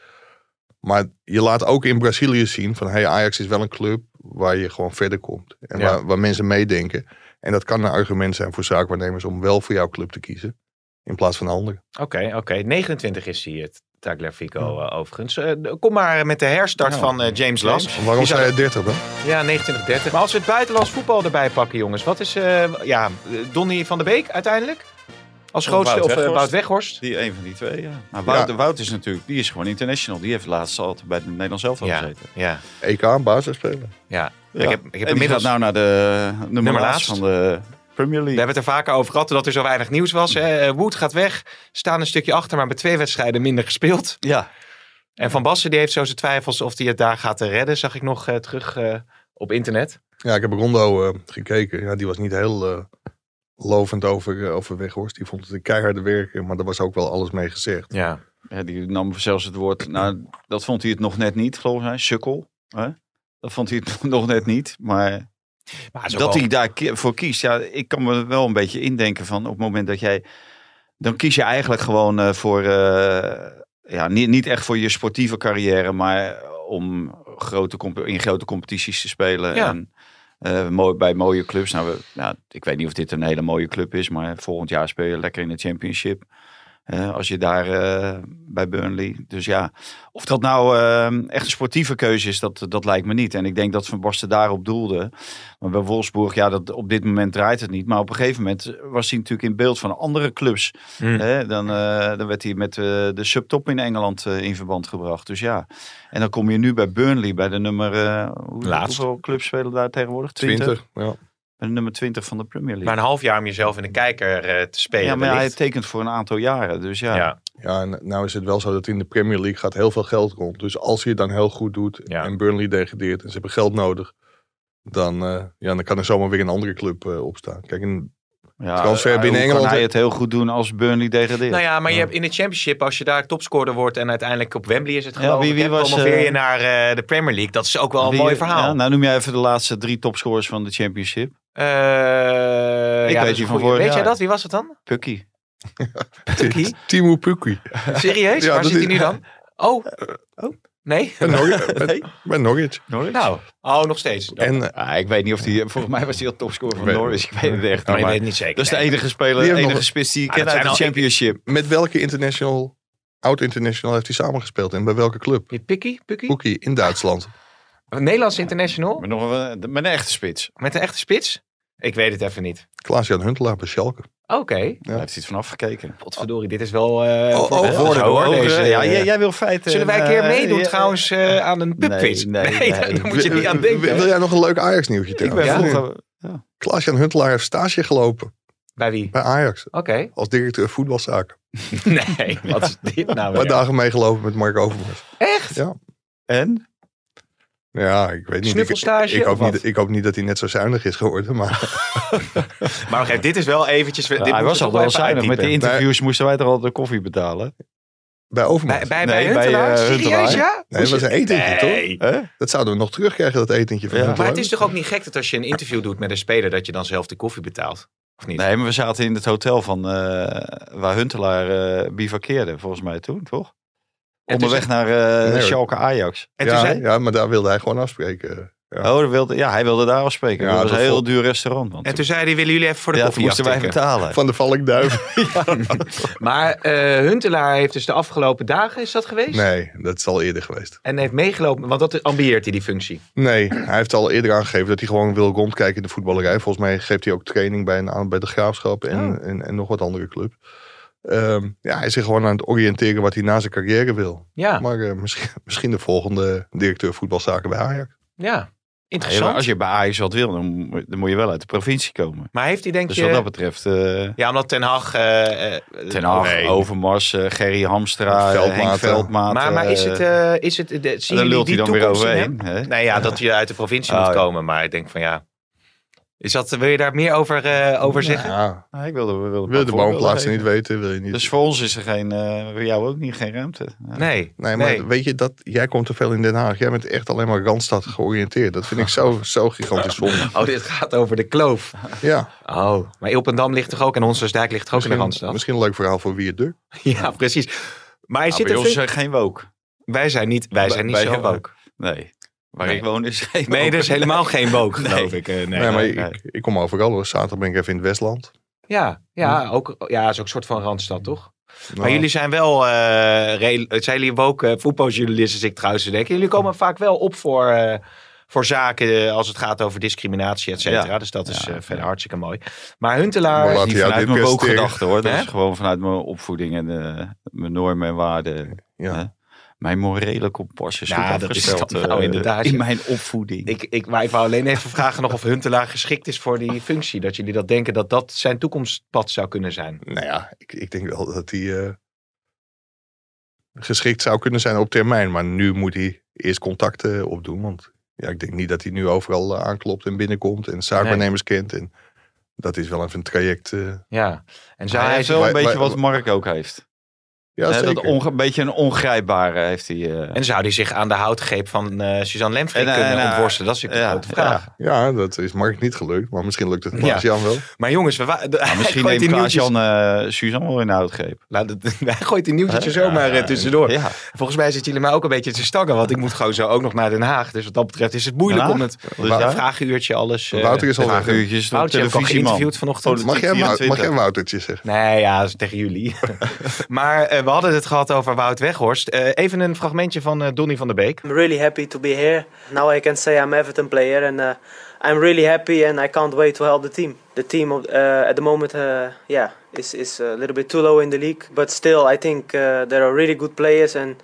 Maar je laat ook in Brazilië zien van hey, Ajax is wel een club waar je gewoon verder komt. En Ja. waar, waar mensen meedenken. En dat kan een argument zijn voor zaakwaarnemers om wel voor jouw club te kiezen. In plaats van de andere. Oké, oké. 29 is hij, het Tagliafico eh, overigens. Eh, d- kom maar met de herstart Ja. van eh, James Last. Waarom Die zou- zei je 30 dan? Ja, 29 Maar als we het buitenlands voetbal erbij pakken, jongens. Wat is, eh, ja, eh, Donny van der Beek uiteindelijk? Als Of grootste, Wout of eh, Weghorst. Wout Weghorst? Die een van die twee, ja. Maar Wout, Wout is natuurlijk, die is gewoon international. Die heeft laatst altijd bij het Nederlands elftal Ja, gezeten. ja, EK, basisspeler. ja. Ja. Ik heb, ik heb en die inmiddels... gaat nou naar de nummer, Nummer laatst laatst. van de Premier We League. hebben het er vaker over gehad, dat er zo weinig nieuws was. Hè. Eh, Wood gaat weg, staan een stukje achter, maar met twee wedstrijden minder gespeeld. Ja, En Van Basten die heeft zo zijn twijfels of hij het daar gaat eh, redden, zag ik nog eh, terug eh, op internet. Ja, ik heb Rondo eh, gekeken. Ja, die was niet heel eh, lovend over, eh, over Weghorst. Die vond het een keiharde werken, maar daar was ook wel alles mee gezegd. Ja. Ja, die nam zelfs het woord. Nou, dat vond hij het nog net niet, geloof ik. Sukkel. Hè? Dat vond hij het nog net niet. Maar Maar het is ook dat wel- hij daarvoor kiest, ja, ik kan me wel een beetje indenken van op het moment dat jij. Dan kies je eigenlijk gewoon eh, voor. eh, ja, niet, niet echt voor je sportieve carrière, maar om grote, comp- in grote competities te spelen. Ja. En, eh, mooi, bij mooie clubs. Nou, we, nou, ik weet niet of dit een hele mooie club is, maar volgend jaar speel je lekker in de Championship. Eh, als je daar eh, bij Burnley. Dus ja, of dat nou eh, echt een sportieve keuze is, dat, dat lijkt me niet. En ik denk dat Van Basten daarop doelde. Maar bij Wolfsburg, ja, dat, op dit moment draait het niet. Maar op een gegeven moment was hij natuurlijk in beeld van andere clubs. Hmm. Hè, dan, eh, dan werd hij met eh, de subtop in Engeland eh, in verband gebracht. Dus ja, en dan kom je nu bij Burnley, bij de nummer... eh, hoe, Laatst. hoeveel clubs spelen daar tegenwoordig? 20? 20. Ja. Bij de nummer 20 van de Premier League. Maar een half jaar om jezelf in de kijker eh, te spelen. ja, maar hij wellicht. tekent voor een aantal jaren. Dus ja, ja. ja, en nou is het wel zo dat in de Premier League gaat heel veel geld rond. Dus als je het dan heel goed doet Ja. en Burnley degradeert en ze hebben geld nodig, dan, eh, ja, dan kan er zomaar weer een andere club eh, opstaan. Kijk, en, ja Transfer eh, binnen hoe Engeland, kan hij hè? het heel goed doen als Burnley degradeert. Nou ja, maar je hebt in de Championship, als je daar topscorer wordt en uiteindelijk op Wembley is het Ja, geloof wie- wie ik, hè, was, promoveer je eh, naar eh, de Premier League. Dat is ook wel een Wie- mooi verhaal. Ja, nou noem jij even de laatste drie topscorers van de championship. Eh, Ik ja, weet dat is die een van goeie. vorig Weet jij jaar. dat? Wie was dat dan? Pukkie. Tukkie? Timo Pukki. Serieus? Ja, Waar dat zit hij is- nu dan? Oh. Eh, Nee? Bij Norwich. bij- bij Norwich. Nou, oh, nog steeds. En eh, Ah, ik weet niet of die. Volgens mij was hij al topscorer van Weet- Norwich. Ik weet het echt maar Oh, je niet. weet maar het niet zeker. Dat is de Nee. enige speler, Die de hebben enige nog- spits die ik Ah, ken dat uit de zijn al- championship. met welke international, oud-international heeft hij samengespeeld en bij welke club? Die Pikkie? Pukkie? Pukki in Duitsland. Een Nederlands international? Maar nog een, de- met een echte spits. Met een echte spits? Ik weet het even niet. Klaas-Jan Huntelaar bij Schalke. Oké. Daar heeft hij het vanaf gekeken. Potverdorie, dit is wel... eh Oh, voor oh, de woorden, Oh, hoor, Ook, deze, eh, ja, eh, jij, jij wil feiten. Zullen wij een keer eh, meedoen ja, trouwens eh, aan een pubquiz? Nee, nee, nee. daar moet je niet aan Wil- denken. Wil jij nog een leuk Ajax-nieuwtje Ik ben trouwens? Ja. vroeger. Klaas-Jan Huntelaar heeft stage gelopen Bij wie? bij Ajax. Oké. Als directeur voetbalzaken. Nee, wat is dit nou Een paar weer? dagen meegelopen met Mark Overmars. Echt? Ja. En? Ja, ik weet niet. Ik, ik, Snuffelstage hoop of niet. ik hoop niet dat hij net zo zuinig is geworden. Maar Maar wacht even, dit is wel eventjes... dit hij moet was je al toch wel even zuinig. Met de uitdiepen. interviews moesten wij toch al de koffie betalen? bij Overmars. Bij, bij, Nee, bij bij, Huntelaar? eh, Huntelaar. Serieus, ja? nee, dat was een etentje, toch? Nee. Hè? Dat zouden we nog terugkrijgen, dat etentje van Ja. Huntelaar. Maar het is toch ook niet gek dat als je een interview doet met een speler... dat je dan zelf de koffie betaalt? Of niet? Nee, maar we zaten in het hotel van, eh, waar Huntelaar eh bivakkeerde, volgens mij toen, toch? En Onderweg naar eh, Nee, hoor. Schalke Ajax. En toen ja, zei, ja, maar daar wilde hij gewoon afspreken. Ja. Oh, dat wilde, ja, hij wilde daar afspreken. Ja, dat was een dat heel vol- duur restaurant. Want en toen zei hij, willen jullie even voor de ja, toen koffie moesten wij aftikken? betalen. Van de valkduif. Maar eh, Huntelaar heeft dus de afgelopen dagen, is dat geweest? Nee, dat is al eerder geweest. En heeft meegelopen, want dat ambieert hij die functie. Nee, hij heeft al eerder aangegeven dat hij gewoon wil rondkijken in de voetballerij. Volgens mij geeft hij ook training bij, een, aan- bij de Graafschap en, Oh. en, en nog wat andere club. Ehm, ja, hij is zich gewoon aan het oriënteren wat hij na zijn carrière wil. Ja, Maar eh, misschien, misschien de volgende directeur voetbalzaken bij Ajax. ja. Ja, maar Interessant. als je bij Ajax wat wil, dan, moet- dan moet je wel uit de provincie komen. Maar heeft hij denk Dus je... wat dat betreft, eh Ja, omdat Ten Hag... eh, eh, Ten Hag, nee. Overmars, eh, Gerry Hamstra, Veldmaten. Veldmaten. Henk Veldmaten. Maar, maar is het... eh, eh, is het de, zien dan jullie lult die hij dan weer toekomst in hem? overheen. hè? Nee, ja, dat je uit de provincie Oh, moet ja. komen. Maar ik denk van ja... Is dat, wil je daar meer over, eh, over zeggen? Ja, Nee, ik wilde, we wilden een paar wil je de voorbeelden woonplaatsen geven. niet weten, wil je niet... Dus voor ons is er geen, eh, voor jou ook niet, geen ruimte. Ja. Nee. Nee, maar weet je, dat, jij komt te veel in Den Haag. Jij bent echt alleen maar Randstad georiënteerd. Dat vind ik zo, zo gigantisch zonde. Oh, dit gaat over de kloof. Ja, Oh. Maar Ilpendam ligt toch ook en Honsdijk ligt toch ook in de misschien, Randstad? misschien een leuk verhaal voor wie het durkt. Ja, precies. Maar hij Nou, zit bij er ons veel- zijn geen woke. Wij zijn niet, wij zijn niet bij- zo bij- woke. Nee. Waar Nee. ik woon is geen Nee, woke. er is helemaal geen woke, geloof Nee. ik. eh, nee. Nee, maar nee, ik- nee. Ik, ik kom overal hoor. Zaterdag ben ik even in het Westland. Ja, ja, ook, ja, is ook een soort van randstad, toch? Maar Nou, jullie zijn wel, eh re- het zijn jullie woke eh, voetbaljournalisten, zit ik trouwens te denken. Jullie komen vaak wel op voor, eh, voor zaken eh, als het gaat over discriminatie, et cetera. Ja. Dus dat is Ja, eh, verder ja. hartstikke mooi. Maar Huntelaar, Voilà. Dat Laat is niet hij jou vanuit dit mijn woke presteren. gedachten hoor. Dat Hè? is gewoon vanuit mijn opvoeding en eh, mijn normen en waarden. Ja. Hè? Mijn morele kompas is Nou, goed dat is afgesteld, dat eh, nou inderdaad, In ja. mijn opvoeding. ik, ik, maar ik wou alleen even vragen nog of Huntelaar geschikt is voor die functie. Dat jullie dat denken, dat dat zijn toekomstpad zou kunnen zijn. nou ja, ik, ik denk wel dat hij eh, geschikt zou kunnen zijn op termijn. Maar nu moet hij eerst contacten opdoen. Want ja, ik denk niet dat hij nu overal eh, aanklopt en binnenkomt en zaakwaarnemers kent. En dat is wel even een traject. eh, Ja, en zou Dus hij hij heeft wel wij- een beetje wij- wat Mark ook heeft. ja, Hè, zeker. dat onge- een beetje een ongrijpbare heeft hij. eh. En zou die zich aan de houtgreep van eh, Suzanne Lemfrey En, eh, kunnen en, eh, ontworstelen? Dat is natuurlijk ja, een grote vraag. ja, dat is Mark niet gelukt. Maar misschien lukt het Klaas Jan wel. Maar jongens, we wa- hij Misschien gooit neemt die nieuwtjes- Klaas-Jan eh, Suzanne wel in de houtgreep. Nou, dat- hij gooit die nieuwtjes er Hè? zomaar eh, tussendoor. Ja. Volgens mij zitten jullie mij ook een beetje te stangen, want ik moet gewoon zo ook nog naar Den Haag. Dus wat dat betreft is het moeilijk Den om Haag? het Dus ja. vragenuurtje alles... eh, Wouter is al Vraag weg. uurtjes door Wouter, je hebt al televisieman. geïnterviewd vanochtend. Politiek Oh, Mag jij, Wou- mag 24. jij Woutertje zeggen? Nee, ja, dat is tegen jullie. maar eh, we hadden het gehad over Wout Weghorst. Eh, even een fragmentje van eh, Donny van der Beek. I'm really happy to be here. Now I can say I'm Everton player, and uh, I'm really happy, and I can't wait to help the team. The team of, uh, at the moment, uh, yeah, is is a little bit too low in the league, but still, I think uh, there are really good players, and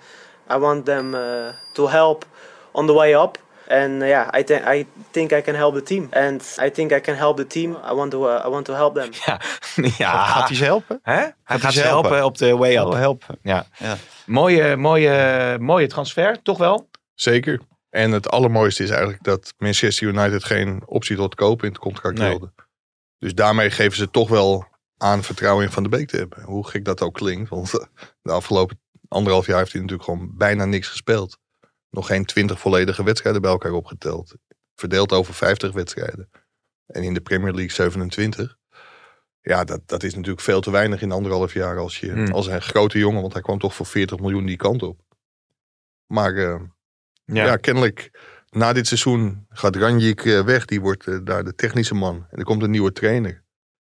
I want them uh, to help on the way up. And uh, yeah, I think I think I can help the team, and I think I can help the team. I want to uh, I want to help them. Ja, ja. Gaat hij ze helpen? Hè? Hij gaat, hij ze ze helpen. helpen? Oh, op Ah. de way up. helpen. Ja. Ja. Mooie, mooie, mooie transfer, toch wel? Zeker. En het allermooiste is eigenlijk dat Manchester United geen optie tot kopen in het contract Nee. wilde. Dus daarmee geven ze toch wel aan vertrouwen in Van de Beek te hebben. Hoe gek dat ook klinkt. Want eh, de afgelopen anderhalf jaar heeft hij natuurlijk gewoon bijna niks gespeeld. Nog geen twintig volledige wedstrijden bij elkaar opgeteld. Verdeeld over 50 wedstrijden. En in de Premier League 27. Ja, dat, dat is natuurlijk veel te weinig in anderhalf jaar als, je, Hmm. als een grote jongen. Want hij kwam toch voor 40 miljoen die kant op. Maar eh, ja. kennelijk na dit seizoen gaat Ranjik eh, weg. Die wordt eh, daar de technische man. En er komt een nieuwe trainer.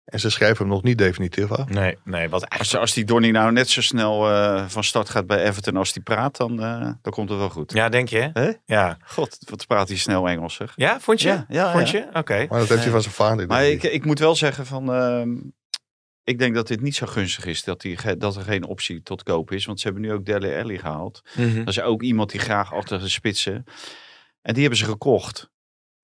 En ze schrijven hem nog niet definitief af. Nee, nee, wat eigenlijk... Als, als die Donny nou net zo snel eh, van start gaat bij Everton als die praat, dan, eh, dan komt het wel goed. Ja, denk je? hè? Hè? Ja. God, wat praat hij snel Engels zeg. Ja, vond je? Ja, ja, vond ja. je? Oké. Maar dat heeft hij Ja. van zijn vader. Maar denk ik, ik. ik moet wel zeggen van... ehm, ik denk dat dit niet zo gunstig is dat, die, ge- dat er geen optie tot koop is. Want ze hebben nu ook Dele Alli gehaald. Dat is ook iemand die graag achter de spitsen. En die hebben ze gekocht.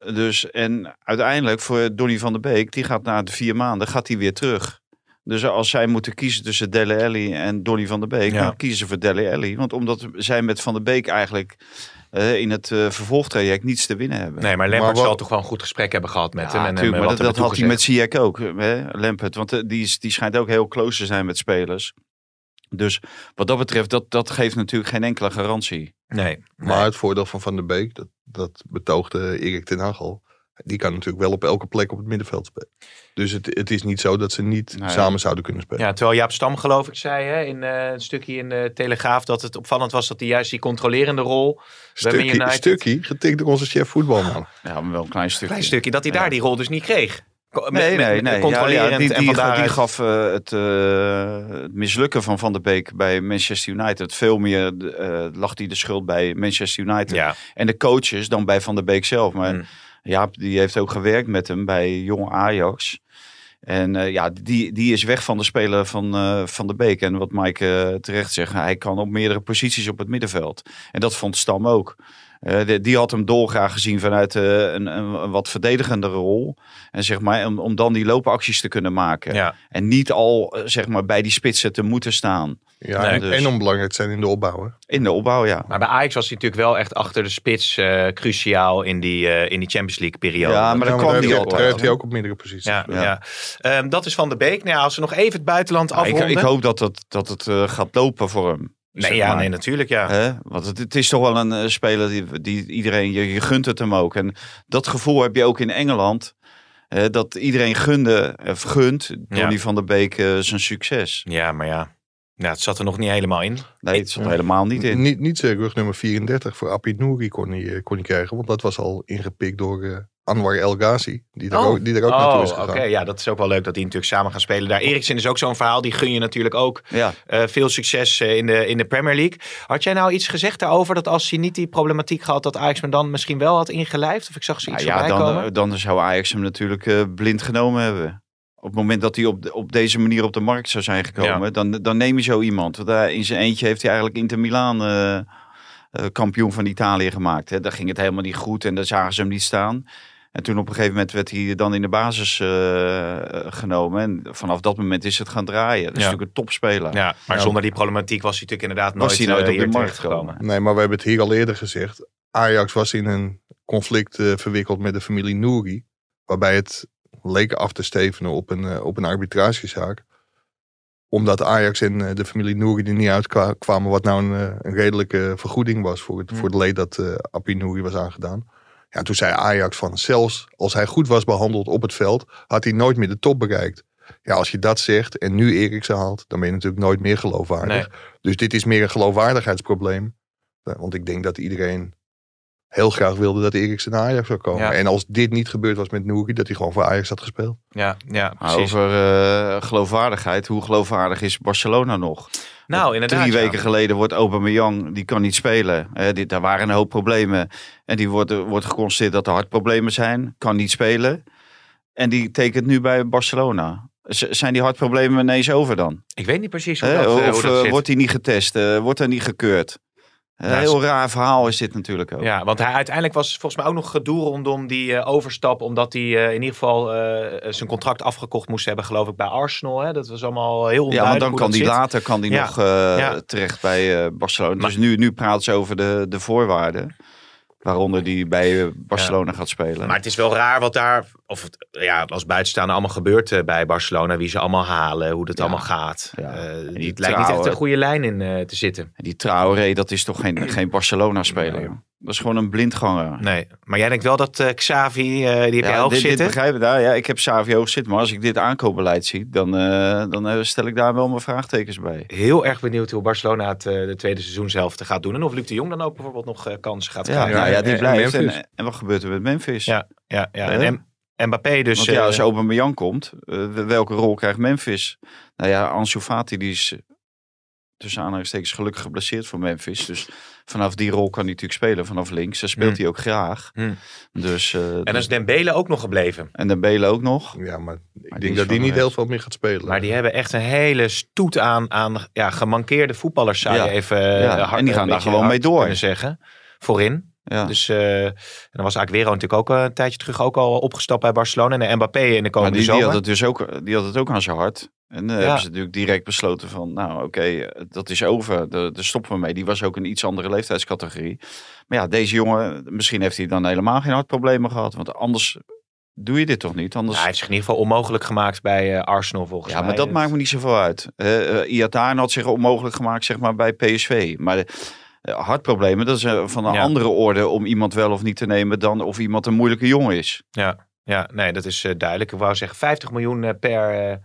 Dus, en uiteindelijk voor Donny van der Beek, die gaat na de vier maanden gaat hij weer terug. Dus als zij moeten kiezen tussen Dele Alli en Donny van der Beek, Ja. dan kiezen ze voor Dele Alli. Want omdat zij met Van der Beek eigenlijk eh, in het eh, vervolgtraject niets te winnen hebben. Nee, maar Maar Lampard wat- zal toch wel een goed gesprek hebben gehad met hem. Ja, en hem, tuurlijk, eh, maar dat, wat er dat had hij naartoe met Ziyech ook, hè, Lampert. Want eh, die, is, die schijnt ook heel close te zijn met spelers. Dus wat dat betreft, dat, dat geeft natuurlijk geen enkele garantie. gezegd. Nee, Maar het voordeel van Van der Beek, dat, dat betoogde Erik ten Hag al. Die kan natuurlijk wel op elke plek op het middenveld spelen. Dus het, het is niet zo dat ze niet Nee. samen zouden kunnen spelen. Ja, terwijl Jaap Stam geloof ik zei hè, in eh, een stukje in de Telegraaf dat het opvallend was dat hij juist die controlerende rol, bij Man Stukkie, United- stukkie, getikt door onze chef voetbalman. Ja, maar wel een klein stukje. klein stukje, dat hij daar Ja. die rol dus niet kreeg. Ko- met- Nee, met- nee, met nee. Ja, ja, Controlerend die, die, en van die daaruit- gaf eh, het, eh, het mislukken van Van der Beek bij Manchester United. Veel meer eh, lag hij de schuld bij Manchester United. Ja, En de coaches dan bij Van der Beek zelf. Maar Mm. Jaap die heeft ook gewerkt met hem bij jonge Ajax. En eh, ja, die, die is weg van de speler van eh, Van der Beek. En wat Mike eh, terecht zegt, hij kan op meerdere posities op het middenveld. En dat vond Stam ook. Eh, de- die had hem dolgraag gezien vanuit eh, een, een, een wat verdedigende rol. En zeg maar, om, om dan die loopacties te kunnen maken. ja. En niet al eh, zeg maar, bij die spitsen te moeten staan. Ja, Nee, en, dus- en onbelangrijk te zijn in de opbouw. hè. In de opbouw, ja. Maar bij Ajax was hij natuurlijk wel echt achter de spits eh, cruciaal in die, eh, in die Champions League periode. Ja, maar Ja, dat daar kwam heeft niet hij- Daar altijd. heeft hij ook op meerdere posities. Ja, gespeeld. ja. Ehm, dat is Van de Beek. Nou, ja, als we nog even het buitenland Ja, ik, afronden. ik hoop dat, dat, dat het eh, gaat lopen voor hem. nee, zeg ja, maar. nee, natuurlijk ja. Hè? Want het, het is toch wel een eh, speler die, die iedereen, je, je gunt het hem ook. En dat gevoel heb je ook in Engeland. eh, dat iedereen gunde, of gunt Donny van der Beek eh, zijn succes. Ja, maar ja. Nou, het zat er nog niet helemaal in. Nee, het zat er helemaal niet in. Niet, niet eh, rug nummer 34 voor Apid Nouri kon hij, eh, kon hij krijgen. Want dat was al ingepikt door eh, Anwar El Ghazi. Die daar ook, die daar ook naartoe oh, is oké. gegaan. Ja, dat is ook wel leuk dat die natuurlijk samen gaan spelen. Daar Eriksen is ook zo'n verhaal. Die gun je natuurlijk ook Ja. eh, veel succes eh, in, de, in de Premier League. Had jij nou iets gezegd daarover dat als hij niet die problematiek had, dat Ajax hem dan misschien wel had ingelijfd? Of ik zag Ja, zoiets ja, voorbij dan, komen? eh, dan zou Ajax hem natuurlijk eh, blind genomen hebben. Op het moment dat hij op, de- op deze manier op de markt zou zijn gekomen, dan, dan neem je zo iemand. Want daar in zijn eentje heeft hij eigenlijk Inter Milaan eh, eh, kampioen van Italië gemaakt. Hè. Daar ging het helemaal niet goed en daar zagen ze hem niet staan. En toen op een gegeven moment werd hij dan in de basis eh, eh, genomen. En vanaf dat moment is het gaan draaien. Dat is Ja. natuurlijk een topspeler. ja, maar Ja. zonder die problematiek was hij natuurlijk inderdaad nooit, Was hij nooit eh, op hier de markt terechtgekomen. gekomen. Nee, maar we hebben het hier al eerder gezegd. Ajax was in een conflict eh, verwikkeld met de familie Nouri. Waarbij het leek af te stevenen op een, eh, op een arbitragezaak. Omdat Ajax en eh, de familie Nouri er niet uitkwamen wat nou een, eh, een redelijke vergoeding was voor het, Mm. voor het leed dat eh Appie Nouri was aangedaan. Ja, toen zei Ajax van zelfs als hij goed was behandeld op het veld, had hij nooit meer de top bereikt. Ja, als je dat zegt en nu Eriksen haalt, dan ben je natuurlijk nooit meer geloofwaardig. Dus dit is meer een geloofwaardigheidsprobleem. Eh, Want ik denk dat iedereen heel graag wilde dat Eriksen naar Ajax zou komen. Ja. En als dit niet gebeurd was met Nouri, dat hij gewoon voor Ajax had gespeeld. Ja, ja Maar precies. Nou, Over eh, geloofwaardigheid. Hoe geloofwaardig is Barcelona nog? Nou, inderdaad. Drie ja. weken geleden wordt Aubameyang, die kan niet spelen. Eh, dit, daar waren een hoop problemen. En die wordt, eh, wordt geconstateerd dat er hartproblemen zijn. Kan niet spelen. En die tekent nu bij Barcelona. Z- zijn die hartproblemen ineens over dan? Ik weet niet precies hoe Eh, dat, eh, hoe of dat eh, zit. wordt hij niet getest? Eh, wordt er niet gekeurd? Een Ja, heel raar verhaal is dit natuurlijk ook. Ja, want hij, uiteindelijk was volgens mij ook nog gedoe rondom die eh, overstap. Omdat hij eh, in ieder geval eh, zijn contract afgekocht moest hebben, geloof ik, bij Arsenal. Hè? Dat was allemaal heel Ja, want onduidelijk dan hoe kan dat die zit. later kan die Ja. nog eh, Ja. terecht bij eh, Barcelona. Maar- dus nu, nu praat ze over de, de voorwaarden. Waaronder die bij eh, Barcelona gaat spelen. Maar het is wel raar wat daar, of het, ja, als buitenstaander allemaal gebeurt eh, bij Barcelona. Wie ze allemaal halen, hoe dat Ja. allemaal gaat. Ja. Eh, En die het lijkt niet trouwen. echt een goede lijn in eh, te zitten. En Die Traoré, dat is toch geen, geen Barcelona-speler? Nee. Dat is gewoon een blindganger. Nee, maar jij denkt wel dat eh, Xavi, eh, die heb je ja, hoog dit, dit zitten. begrijp ik daar. Ja, ik heb Xavi hoog zitten. Maar als ik dit aankoopbeleid zie, dan, eh, dan eh, stel ik daar wel mijn vraagtekens bij. Heel erg benieuwd hoe Barcelona het eh, de tweede seizoenshelft gaat doen. En of Luc de Jong dan ook bijvoorbeeld nog eh, kansen gaat Ja, krijgen. nou ja, en- die en blijft. En, Memphis. en, wat gebeurt er met Memphis? Ja, ja, ja. Hè? En M- Mbappé dus... Want ja, eh, als Aubameyang komt, eh, welke rol krijgt Memphis? Nou ja, Ansu Fati die is eh, tussen aanhalingstekens gelukkig geblesseerd voor Memphis. Dus vanaf die rol kan hij natuurlijk spelen, vanaf links. Daar speelt Hmm. hij ook graag. Hmm. Dus, eh, En dan is Dembele ook nog gebleven. en de Belen ook nog. Ja, maar ik die denk is dat die van niet de rest. heel veel meer gaat spelen. Maar die hebben echt een hele stoet aan, aan ja, gemankeerde voetballers, zou je Ja. even Ja, eh, hard, en die gaan een daar beetje gewoon mee hard door. kunnen zeggen. Voorin. Ja. Dus, eh, en dan was Aguero natuurlijk ook eh, een tijdje terug ook al opgestapt bij Barcelona. En Mbappé in de Maar komende die, die zomer. had het dus ook, die had het ook aan zijn hart. En dan hebben ze natuurlijk direct besloten van, nou oké, eh, dat is over. Daar daar stoppen we mee. Die was ook een iets andere leeftijdscategorie. Maar ja, deze jongen, misschien heeft hij dan helemaal geen hartproblemen gehad. Want anders doe je dit toch niet? Anders... Ja, hij heeft zich in ieder geval onmogelijk gemaakt bij eh, Arsenal volgens Ja, mij. maar dat maakt me niet zoveel uit. Eh eh, Iataren had zich onmogelijk gemaakt zeg maar, bij PSV. Maar eh, hartproblemen, dat is eh, van een Ja. andere orde om iemand wel of niet te nemen dan of iemand een moeilijke jongen is. Ja, nee, dat is eh, duidelijk. Ik wou zeggen, 50 miljoen eh, per eh,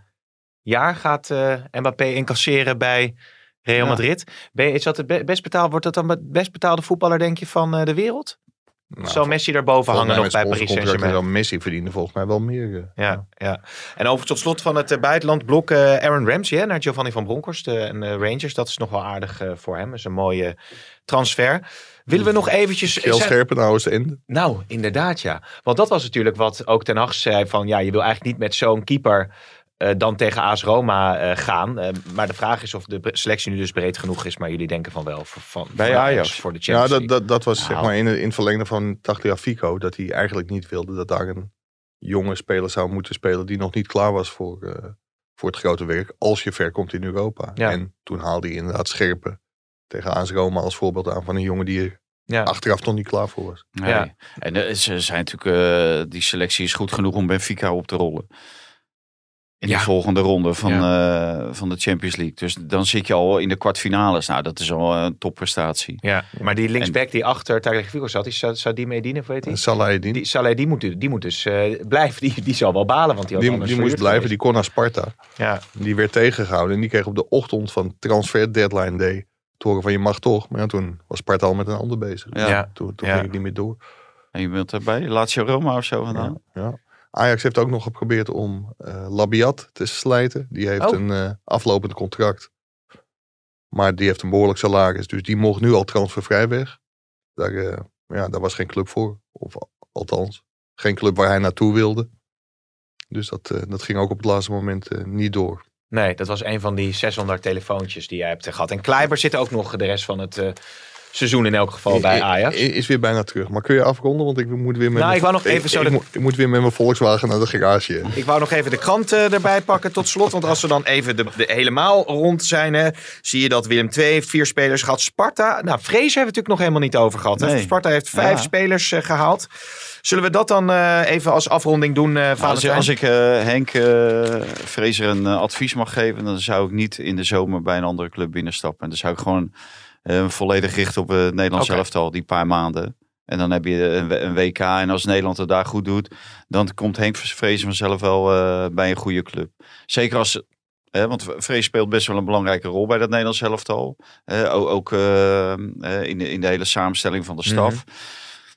jaar gaat eh, Mbappé incasseren bij Real Ja. Madrid. Ben, je- is dat het be- best betaald, wordt dat dan het best betaalde voetballer, denk je, van eh, de wereld? Nou, Zal Messi daarboven volgens hangen mij nog met bij Paris sponsorcontracten Saint-Germain? zou Messi verdienen volgens mij wel meer. eh. Ja, ja. En over tot slot van het eh, buitenlandblok eh, Aaron Ramsey hè, naar Giovanni van Bronckhorst eh, en eh, Rangers. Dat is nog wel aardig eh, voor hem. Dat is een mooie transfer. Willen we nog eventjes... Kjell zijn- Scherpenhouwer is de ende. nou, inderdaad ja. Want dat was natuurlijk wat ook Ten Hag zei van... Ja, je wil eigenlijk niet met zo'n keeper eh, dan tegen AS Roma eh, gaan. Eh, maar de vraag is of de bre- selectie nu dus breed genoeg is. Maar jullie denken van wel. Voor, van, Bij voor de Ajax. Voor de Ja, Champions dat, dat, dat was zeg Nou. maar in, in het verlengde van Tagliafico. Dat hij eigenlijk niet wilde dat daar een jonge speler zou moeten spelen. die nog niet klaar was voor, eh, voor het grote werk. als je ver komt in Europa. Ja. En toen haalde hij inderdaad Scherpen tegen AS Roma als voorbeeld aan van een jongen die er Ja. achteraf nog niet klaar voor was. Nee. Ja. En eh, ze zijn natuurlijk, eh, die selectie is goed genoeg om Benfica op te rollen. In Ja. die volgende ronde van, eh, van de Champions League. Dus dan zit je al in de kwartfinales. Nou, dat is al een topprestatie. Ja, maar die linksback die achter Tagliafico zat, die zou, zou die meedienen, of weet je? En Salah Die, die, Saleh, die moet, die moet dus eh, blijven. Die, die zal wel balen, want die had die, anders die moest verhuurd blijven, die kon naar Sparta. geweest. Die werd tegengehouden. En die kreeg op de ochtend van transfer deadline day. te horen van je mag toch. Maar ja, toen was Sparta al met een ander bezig. Ja. Ja. Toen, toen Ja. ging het niet meer door. En je bent erbij, Lazio Roma of zo vandaan. Ja. Ja. Ajax heeft ook nog geprobeerd om eh, Labiat te slijten. Die heeft Oh. een eh, aflopend contract. Maar die heeft een behoorlijk salaris. Dus die mocht nu al transfervrij weg. Daar, eh, ja, daar was geen club voor. Of althans, geen club waar hij naartoe wilde. Dus dat, eh, dat ging ook op het laatste moment eh, niet door. Nee, dat was een van die 600 telefoontjes die jij hebt eh, gehad. En Kleiber zit ook nog de rest van het eh, seizoen in elk geval bij Ajax. I- i- Is weer bijna terug. Maar kun je afronden? Want ik moet weer met. Nou, mijn- ik wou nog even zo Ik, dat- moet, ik moet weer met mijn Volkswagen naar de garage. Ik wou nog even de krant eh, erbij pakken tot slot. Want als we dan even de, de helemaal rond zijn, hè, zie je dat Willem II heeft vier spelers gehad. Sparta, nou Vrees hebben we het natuurlijk nog helemaal niet over gehad. Hè? Nee. Sparta heeft vijf Ja. spelers eh, gehaald. Zullen we dat dan eh, even als afronding doen, eh Nou, als, Valentijn? als ik eh, Henk eh Vrezer een eh, advies mag geven, dan zou ik niet in de zomer bij een andere club binnenstappen. En dan zou ik gewoon eh, volledig richten op het Nederlands Oké. elftal, die paar maanden. En dan heb je eh, een, w- een WK en als Nederland het daar goed doet, dan komt Henk Vrezer vanzelf wel eh, bij een goede club. Zeker als, eh, want Vrees speelt best wel een belangrijke rol bij dat Nederlands elftal. Eh, o- ook eh, eh, in, de, in de hele samenstelling van de staf.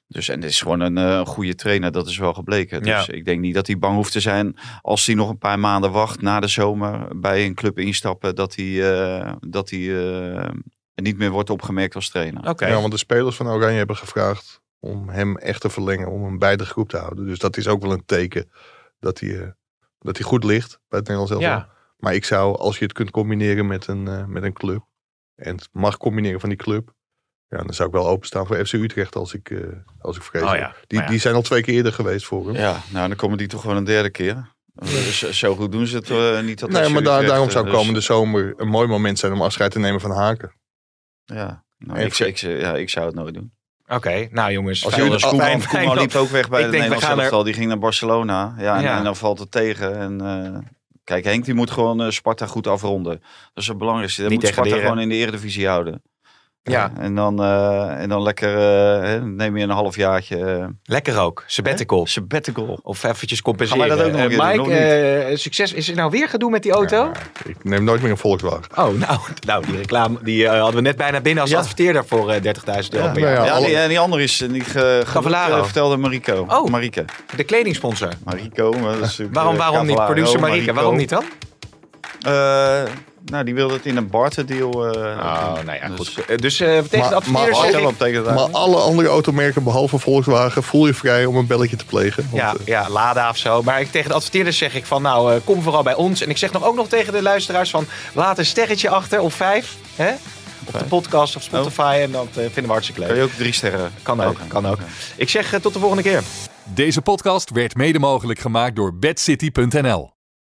Dus en het is gewoon een eh, goede trainer, dat is wel gebleken. Dus ik denk niet dat hij bang hoeft te zijn als hij nog een paar maanden wacht na de zomer bij een club instappen, dat hij, eh, dat hij eh, niet meer wordt opgemerkt als trainer. Oké. Ja, want de spelers van Oranje hebben gevraagd om hem echt te verlengen. Om hem bij de groep te houden. Dus dat is ook wel een teken dat hij, eh, dat hij goed ligt bij het Nederlands elftal. Ja. Maar ik zou, als je het kunt combineren met een, eh, met een club. En het mag combineren van die club. Ja, dan zou ik wel openstaan voor FC Utrecht als ik, eh, als ik vrees. Oh ja, heb. maar die, ja. die zijn al twee keer eerder geweest voor hem. Ja, nou dan komen die toch gewoon een derde keer. Dus zo goed doen ze het eh, niet. Dat Nee, als maar jullie daar- vechten. daarom zou Dus, komende zomer een mooi moment zijn om afscheid te nemen van Haken. dus- Ja, nou, En ik, ik- ik, ja, ik zou het nooit doen. Oké, nou jongens. Als fijn- Jonas fijn- Koeman, fijn- Koeman liep ook weg bij Ik denk, het we Nederlands gaan er- elftal. Die ging naar Barcelona. Ja, en, Ja. en dan valt het tegen. En, eh, kijk, Henk die moet gewoon eh, Sparta goed afronden. Dat is het belangrijkste. Dat Niet moet Sparta degraderen. gewoon in de Eredivisie houden. Ja. En dan, eh, en dan lekker, eh, hè, neem je een halfjaartje eh Lekker ook, sabbatical. sabbatical. Of eventjes compenseren. Gaan wij dat ook nog een Eh, keer doen, Mike, eh, succes. Is er nou weer gedoe met die auto? Ja, ik neem nooit meer een Volkswagen. Oh, nou, nou die reclame die, eh, hadden we net bijna binnen als Ja. adverteer voor eh 30.000 euro per jaar. Nou ja, Ja, alle- die, en die andere is eh, die ge, Cavallaro. eh, vertelde Marico. Oh. Marieke. De kledingsponsor. Marico. maar dat is natuurlijk, Waarom, eh, waarom niet? Cavallaro, Producer Marika, Marico. waarom niet dan? Eh, nou, die wilde het in een barterdeal. eh Oh, nou ja, dus- goed. Eh, Dus eh, tegen de maar adverteerders als- zeg Bartel, ik... wat betekent dat? Maar alle andere automerken behalve Volkswagen voel je vrij om een belletje te plegen. Want, Ja, eh, ja, Lada of zo. Maar ik, tegen de adverteerders zeg ik van, nou, eh, kom vooral bij ons. En ik zeg nog ook nog tegen de luisteraars van, laat een sterretje achter of vijf. Hè? Op de podcast of Spotify. En dat eh, vinden we hartstikke Kan leuk. je ook drie sterren? Kan ook, kan ook. Ik zeg eh, tot de volgende keer. Deze podcast werd mede mogelijk gemaakt door bedcity.nl.